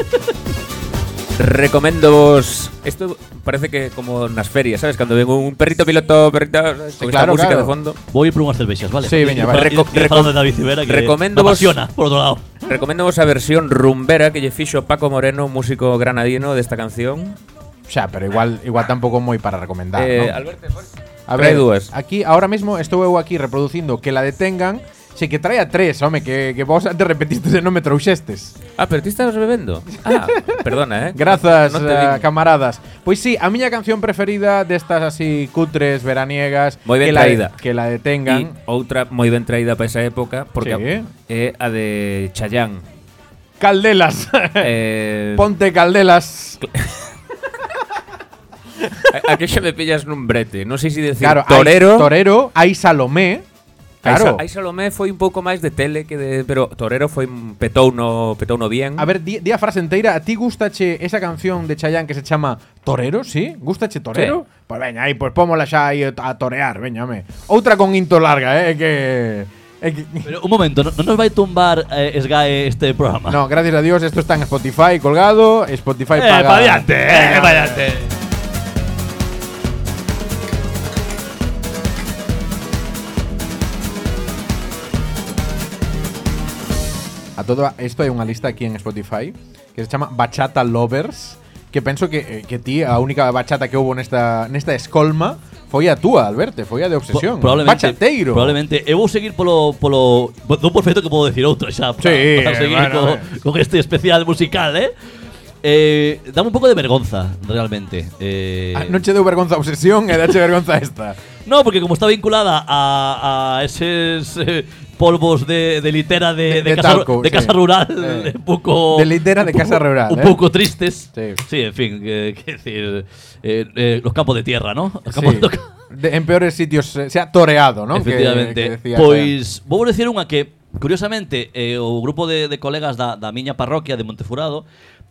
C: Recomendo vos... Esto parece que como nas ferias, sabes? Cando ven un perrito piloto, perrito... ¿sabes? Con esta
A: claro,
C: música
A: claro.
C: de fondo.
B: Voy por unas cervexas, ¿vale?
A: Sí, veña,
B: Y- y
A: vale.
B: para- y-
C: Reco-
B: y falando de
C: reco-
B: David Civera, que
C: recomendo
B: me
C: vos-
B: apasiona, por otro lado.
C: Recomendo vos a versión rumbera que lle fixo Paco Moreno, músico granadino desta canción.
A: O sea, pero igual igual tampouco moi para recomendar,
C: eh,
A: Ah, ¿no?
C: Alberto,
A: A
C: trae dúas.
A: aquí ahora mismo estou eu aquí reproducindo que la detengan. Sí, que trae a tres, home, que, que vos antes repetiste e non me trouxestes.
C: Ah, pero ti estabas bebendo.
A: (laughs)
C: Ah, perdona, eh.
A: Grazas,
C: (laughs) No te
A: eh,
C: digo.
A: camaradas. Pois sí, a miña canción preferida destas así cutres, veraniegas,
C: Moi ben
A: que, la,
C: traída.
A: que la
C: E
A: detengan.
C: outra moi ben traída para esa época porque
A: Sí.
C: é a de
A: (laughs)
C: Chayán.
A: Caldelas.
C: eh,
A: Ponte Caldelas.
C: a- aquí xa me pillas nun brete. Non sei se decir
A: Claro, hai
C: Torero.
A: Torero, hai Salomé. Claro.
C: Aí Salomé foi un pouco máis de tele que de, pero Torero foi un petouno, petouno bien.
A: A ver, di, di a frase enteira, a ti gustache esa canción de Chayanne que se chama Torero, sí? Gustache Torero? Pues veña, aí, pues pómola xa aí a torear, veñame. Outra con into larga, eh, que... é que
B: Pero un momento, ¿no, no nos va a tumbar eh, SGAE este programa?
A: Ah. No, gracias a Dios, esto está en Spotify colgado, Spotify
B: Eh,
A: paga...
B: para adelante, eh, para adelante.
A: A todo esto hai unha lista aquí en Spotify que se chama Bachata Lovers, que penso que, eh, que ti a única bachata que houve nesta, nesta escolma foi a túa, Alberto, foi a de
B: Po-
A: obsesión.
B: probablemente,
A: Bachateiro.
B: Probablemente. Eu vou seguir polo, polo do perfecto que podo decir outro xa para,
A: Sí,
B: para seguir
A: bueno, eh.
B: co- con, este especial musical, eh? Eh, dame un pouco de vergonza, realmente. Eh,
A: Ah, non che deu vergonza a obsesión e dache vergonza esta.
B: No, porque como está vinculada a, a esos eh, polvos de, de litera
A: De-
B: de, de
A: de
B: casa,
A: talco,
B: de
A: sí.
B: casa rural,
A: Eh.
B: (laughs) un poco...
A: De litera de
B: un poco-
A: casa rural,
B: Un
A: eh.
B: poco tristes.
A: Sí.
B: Sí. en fin, (laughs) que, que decir, eh, eh, los campos de tierra, ¿no? Los campos
A: Sí.
B: de tierra.
A: De- en peores sitios eh, se ha toreado, ¿no? Que-
B: Efectivamente. pues,
A: que decía
B: pois vou decir unha que, curiosamente, eh, o grupo de, de colegas da, da miña parroquia de Montefurado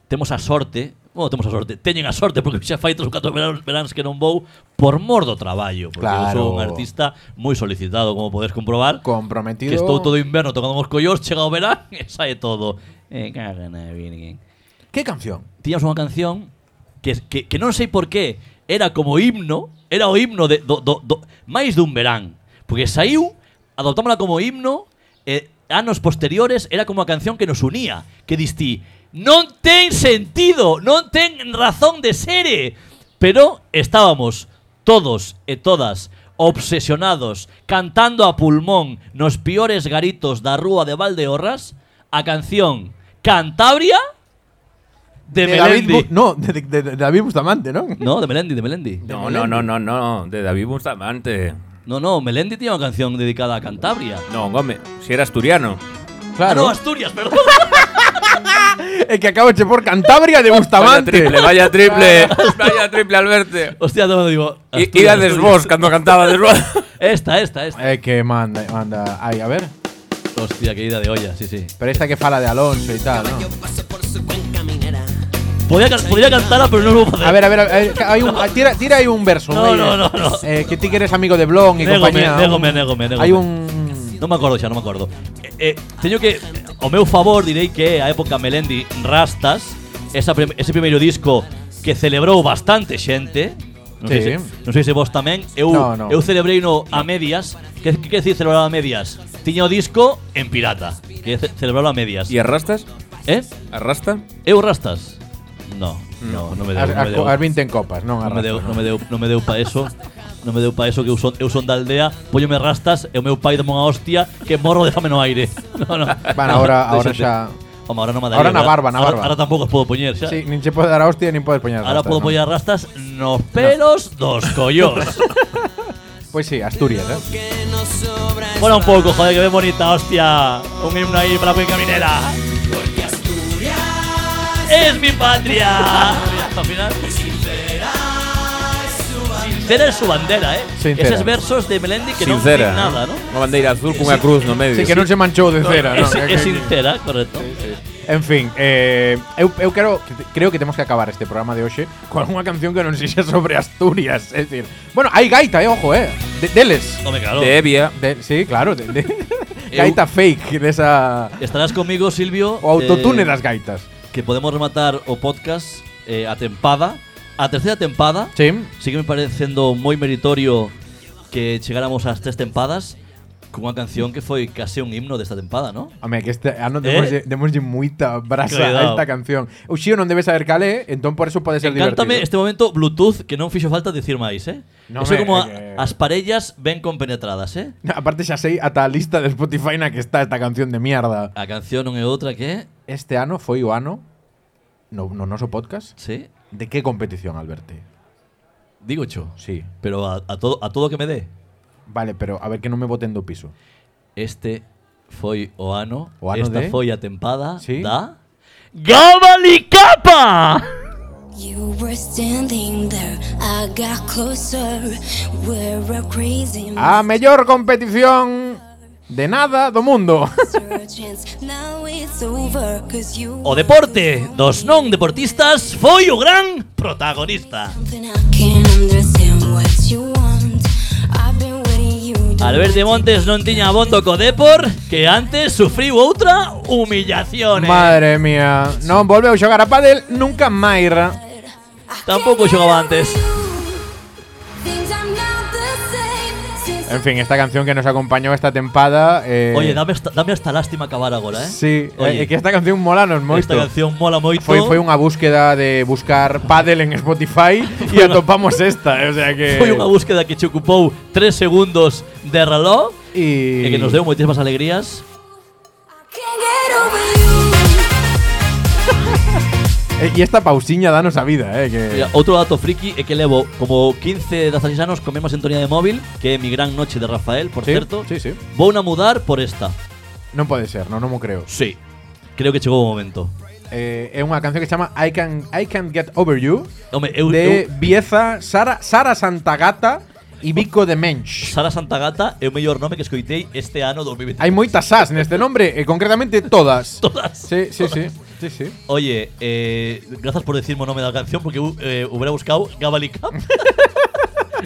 B: temos a sorte, bueno, temos a sorte, teñen a sorte porque xa fai tres ou catro veranos, veráns que non vou por mor do traballo, porque eu sou
A: Claro.
B: un artista moi solicitado, como podes comprobar.
A: Sean, comprometido.
B: Que estou todo o inverno tocando os collós, chega o verán (laughs) e sae todo. Eh, caga na virgen.
A: ¿Qué canción?
B: Tiñas unha canción que, que, que non sei por qué era como himno, era o himno de, do, do, do, máis dun verán. Porque saiu, adoptámola como himno, e anos posteriores era como a canción que nos unía, que distí, non ten sentido, non ten razón de sere, pero estábamos todos e todas obsesionados cantando a pulmón nos piores garitos da rúa de Valdeorras a canción Cantabria de,
A: David
B: Melendi.
A: Bu- no, de, de- de David Bustamante, ¿no?
B: No, de Melendi, de Melendi.
C: No, no, no, no, no, de David Bustamante.
B: No, no, Melendi tiña unha canción dedicada a Cantabria.
C: Non, home, si era asturiano.
B: Ah, no,
A: Claro.
B: Asturias, perdón.
A: É que acabo de por Cantabria de Bustamante.
C: vaya triple, vaya triple, Alberto.
B: Hostia, no, digo. Asturias,
C: Y, iba
B: Asturias.
C: desvós cuando cantaba desvós.
B: Esta, esta, esta.
A: É que manda, manda. Ai, a ver.
B: Hostia, que ida de olla, sí, sí.
A: Pero esta que fala de Alonso e tal, ¿no?
B: Podía, can- podía cantarla, pero no lo voy a hacer.
A: A ver, a ver, a ver, que hay un, ah, tira, tira ahí un verso.
B: No,
A: un-
B: no, no, no.
A: Eh, que ti que eres amigo de Blon y
B: Négome,
A: compañía.
B: négome,
A: un-
B: négome, négome.
A: Hay un...
B: Non me acordo xa, non me acordo eh, eh, Teño que, ao meu favor, direi que a época Melendi Rastas esa prim Ese primeiro disco que celebrou bastante xente Non sei,
A: Sí.
B: se, non sei se vos tamén Eu,
A: No, no.
B: eu celebrei no a medias Que, que quer dicir celebrar a medias? Tiña o disco en pirata Que é ce celebrarlo a medias
C: ¿Y arrastas?
B: Eh?
C: ¿Arrasta?
B: Eu Rastas? No, no, non me
A: As,
B: deu, non me deu.
A: as, as 20 en copas, non
B: non me
A: arrastro.
B: deu, non me deu, non me deu pa eso. Non me deu pa eso que eu son, eu son da aldea, póllome rastas e o meu pai dame unha hostia que morro déjame no aire. (laughs) No, no.
A: Bueno,
B: (laughs)
A: ahora- ahora xa-
B: déxate. Home, ahora non me daría.
A: Ahora na
B: ¿verdad?
A: barba, na
B: Ahora-
A: barba.
B: Ahora, tampouco os podo poñer xa.
A: Sí, nin se pode dar a hostia, nin podes poñer
B: ahora
A: rastas,
B: podo
A: non?
B: poñer rastas nos pelos dos
A: (laughs)
B: collóns.
A: Pois sí, Asturias, eh?
B: Mola un pouco, joder, que ben bonita, hostia. Un himno aí para Puy Caminera. ¡Es mi patria! Hasta el final. Sincera es su bandera, ¿eh?
A: Sincera.
B: Esos versos de Melendi que
C: Sincera.
B: no dicen nada, ¿no?
C: Unha bandeira azul cunha cruz no medio.
A: Sí, que non se manchou de cera, non?
B: (laughs) es,
A: Que-
B: es
A: que-
B: sincera, correcto.
A: En fin, eh, eu, eu quero, creo que temos que acabar este programa de hoxe con unha canción que non sexa sobre Asturias, é dicir, bueno, hai gaita, eh, ojo, eh, de, deles.
B: Hombre, claro.
C: De Evia.
A: De, sí, claro, de, de,
B: (laughs)
C: Eu-
A: gaita fake desa
B: Estarás conmigo, Silvio.
A: o autotune
B: eh,
A: das gaitas.
B: Que podemos rematar o podcast eh, a tempada. A tercera tempada.
A: Sí.
B: Sí que me parecendo moi meritorio que chegáramos ás tres tempadas cunha canción que foi case un himno desta tempada, ¿no?
A: Home, que este
B: Eh?
A: ano demoslle, demoslle moita brasa a
B: Cuidado.
A: esta canción. O Xio non debe saber cal é, entón por eso pode ser divertido.
B: Encántame este momento Bluetooth que non fixo falta dicir máis, eh?
A: No
B: Eso
A: me-
B: como a,
A: eh,
B: as parellas ben compenetradas, eh?
A: (laughs) Aparte xa sei ata a lista de Spotify na que está esta canción de mierda.
B: A canción non é outra que,
A: Este ano foi o ano no, no noso podcast
B: sí,
A: de que competición, Alberti?
B: digo cho.
A: Sí.
B: Pero a, a todo a todo que me dé.
A: Vale, pero a ver que non me boten do piso.
B: Este foi o ano,
A: O ano
B: esta
A: de?
B: foi a tempada
A: Sí.
B: da Gabalicapa.
J: You were standing there, I got closer. We're a crazy
A: A mellor competición de nada do
B: (laughs)
A: mundo.
J: resurgence. Now it's over, cause you
B: O deporte dos non deportistas foi o gran protagonista.
J: something I can't understand what you want. I've been waiting you. to-
B: Alberto Montes non tiña abondo co Depor que antes sufriu outra humillación. eh.
A: Madre mía, non volveu xogar a pádel nunca máis.
B: Tampouco xogaba antes.
J: Things I'm not the same since
A: En fin, esta canción que nos acompañou esta tempada eh,
B: Oye, dame hasta, dame hasta lástima acabar agora, eh?
A: Sí,
B: Oye,
A: é que esta canción mola nos moito.
B: esta canción mola moito.
A: Foi, foi unha búsqueda de buscar pádel en
B: (laughs)
A: Spotify e atopamos esta, eh, o sea que
B: Foi unha búsqueda que che ocupou 3 segundos de reloj
A: y...
B: e que nos deu moitísimas alegrías.
J: I can't get over you.
A: E e esta pausiña danos a vida, eh, que
B: Mira, outro dato friki é que levo como 15 16 anos con a mesma sintonía de móvil que é mi gran noche de Rafael, por
A: Sí,
B: certo.
A: sí, sí.
B: Vou na mudar por esta.
A: non pode ser, non, non mo creo.
B: Sí. Creo que chegou o momento.
A: Eh, é unha canción que se chama I Can I Can't Get Over You
B: Home, eu,
A: de
B: eu
A: Bieza, Sara Sara Santagata e Vico de Mensch.
B: Sara Santagata é o mellor nome que escoitei este ano 2023.
A: Hai moitas as neste nombre, e concretamente todas.
B: (laughs) Todas.
A: Sí, sí, sí. Sí, sí.
B: Oye, eh, gracias por decirme el nombre de la canción porque hu- eh, hubiera buscado Gabalica. (laughs)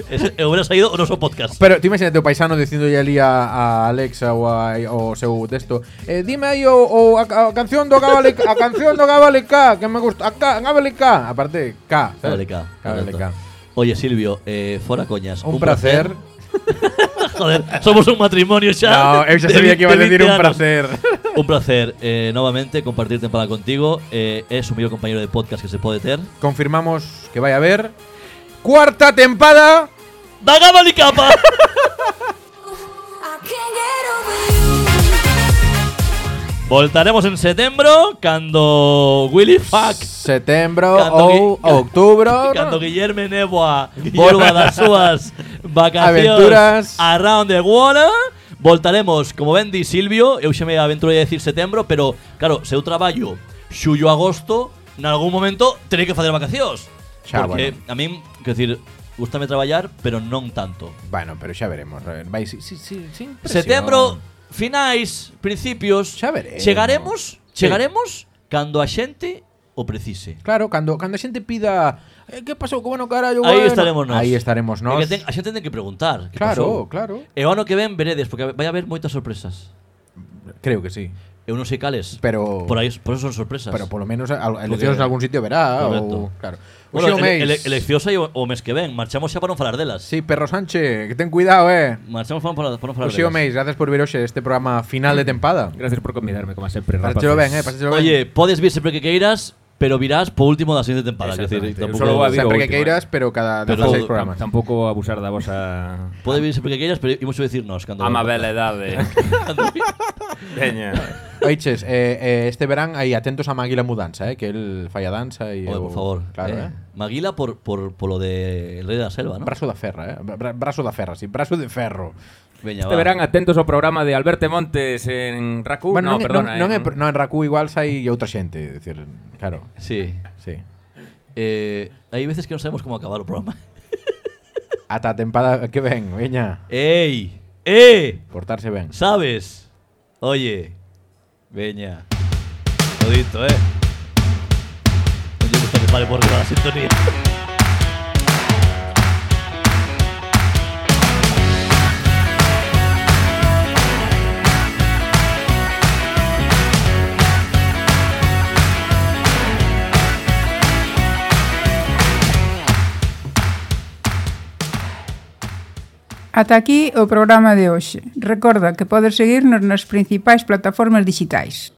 B: Ese- eh, hubiera salido o so podcast.
A: Pero tú imagínate o paisano diciéndolle ali a, a Alexa ou a, o seu texto eh, Dime aí o, o a, ca- a canción do Gabale A canción do Gabale K Que me gusta A ca, Gabale K Aparte K ¿sabes?
B: Gabalica,
A: Gabale K
B: correcto. Oye, Silvio, eh, fuera coñas.
A: Un placer
B: (laughs) Joder, somos un matrimonio
A: (laughs) No,
B: ya.
A: eu xa
B: de
A: sabía que
B: vi-
A: iba a
B: de
A: decir
B: 20
A: un
B: anos.
A: placer (laughs)
B: Un placer, eh, nuevamente, compartir temporada contigo. Eh, eres un mejor compañero de podcast que se puede tener.
A: Confirmamos que vai a haber Cuarta tempada
B: ¡Da Gabalicapa!
J: I can't get over
B: (laughs)
J: you.
B: Voltaremos en septiembre cuando Willy Fuck.
A: Setembro
B: Cando
A: ou
B: Gui-
A: outubro
B: (laughs) Cando
A: non?
B: Guillermo ah,
A: (laughs)
B: Neboa volva das súas vacacións
A: Aventuras.
B: around the world, voltaremos, como ben di Silvio, eu xa me aventuro a decir setembro, pero claro, se eu traballo xullo agosto, nalgún momento terei que facer vacacións.
A: Xa,
B: porque
A: bueno.
B: a min, quer decir, gustame traballar, pero non tanto.
A: Bueno, pero xa veremos. a ver, Vai, si, si, si, sin presión.
B: Setembro, finais, principios,
A: Xa veremos.
B: chegaremos,
A: Sí.
B: chegaremos cando a xente o precise.
A: Claro, cando, cando a xente pida eh, que pasou co ano carallo
B: Aí
A: bueno?"
B: estaremos nós.
A: Aí estaremos
B: E
A: nós.
B: que ten- a xente ten que preguntar. que
A: Claro,
B: pasou.
A: claro.
B: E o ano que ven veredes, porque vai haber moitas sorpresas.
A: Creo que sí.
B: Eu non sei cales.
A: Pero
B: Por, aí, por eso son sorpresas.
A: pero polo menos a- a-
B: Porque-
A: eleccións en algún sitio verá
B: Correcto.
A: ou claro. O
B: Bueno,
A: Xio Meis.
B: ele, ele, eleccións hai o, o mes que ven. Marchamos xa para non falar delas.
A: Sí, perro Sánchez, que ten cuidado, eh.
B: Marchamos para non falar, para non falar
A: O Xio
B: delas.
A: Meis, gracias por vir hoxe este programa final de tempada.
C: Gracias por convidarme, como sempre,
A: Pasáchelo ben, eh, pasáchelo ben.
B: Oye, podes vir sempre que queiras, pero virás po último da seguinte tempada. quer decir,
C: Exactamente.
B: tampouco-
C: Solo va a vir o
A: sempre que
C: último,
A: queiras, pero cada
B: eh. Pero-
A: 16 programas.
C: Tampouco abusar da vosa
B: Pode vir sempre que queiras, pero imos dicirnos cando (laughs)
C: amabelidade. Veña.
A: Oiches, eh, eh, este verán aí atentos a Maguila Mudanza, eh, que el falla danza e
B: Oye,
A: eu-
B: por favor.
A: Claro,
B: eh.
A: eh.
B: Maguila por, por, por lo de El Rey da Selva, ¿no?
A: Brazo da ferra, eh. Bra- brazo da ferra, sí, brazo de ferro.
B: Veña,
C: Este
B: va.
C: verán atentos ao programa de Alberto Montes en Raku.
A: bueno, non,
C: Uh, no,
A: é-
C: perdona.
A: non, non, é,
C: en-
A: pr- non, en Raku igual sai outra xente, é dicir, claro,
B: Sí.
A: sí.
B: Eh, hay veces que no sabemos cómo acabar el programa.
A: Ata a tempada que ven, veña,
B: ¡Ey! ¡Eh!
A: portarse ben.
B: ¿Sabes? Oye. Veña. Jodito, ¿eh? No me gusta que pare por la sintonía.
K: Ata aquí o programa de hoxe. Recorda que podes seguirnos nas principais plataformas digitais.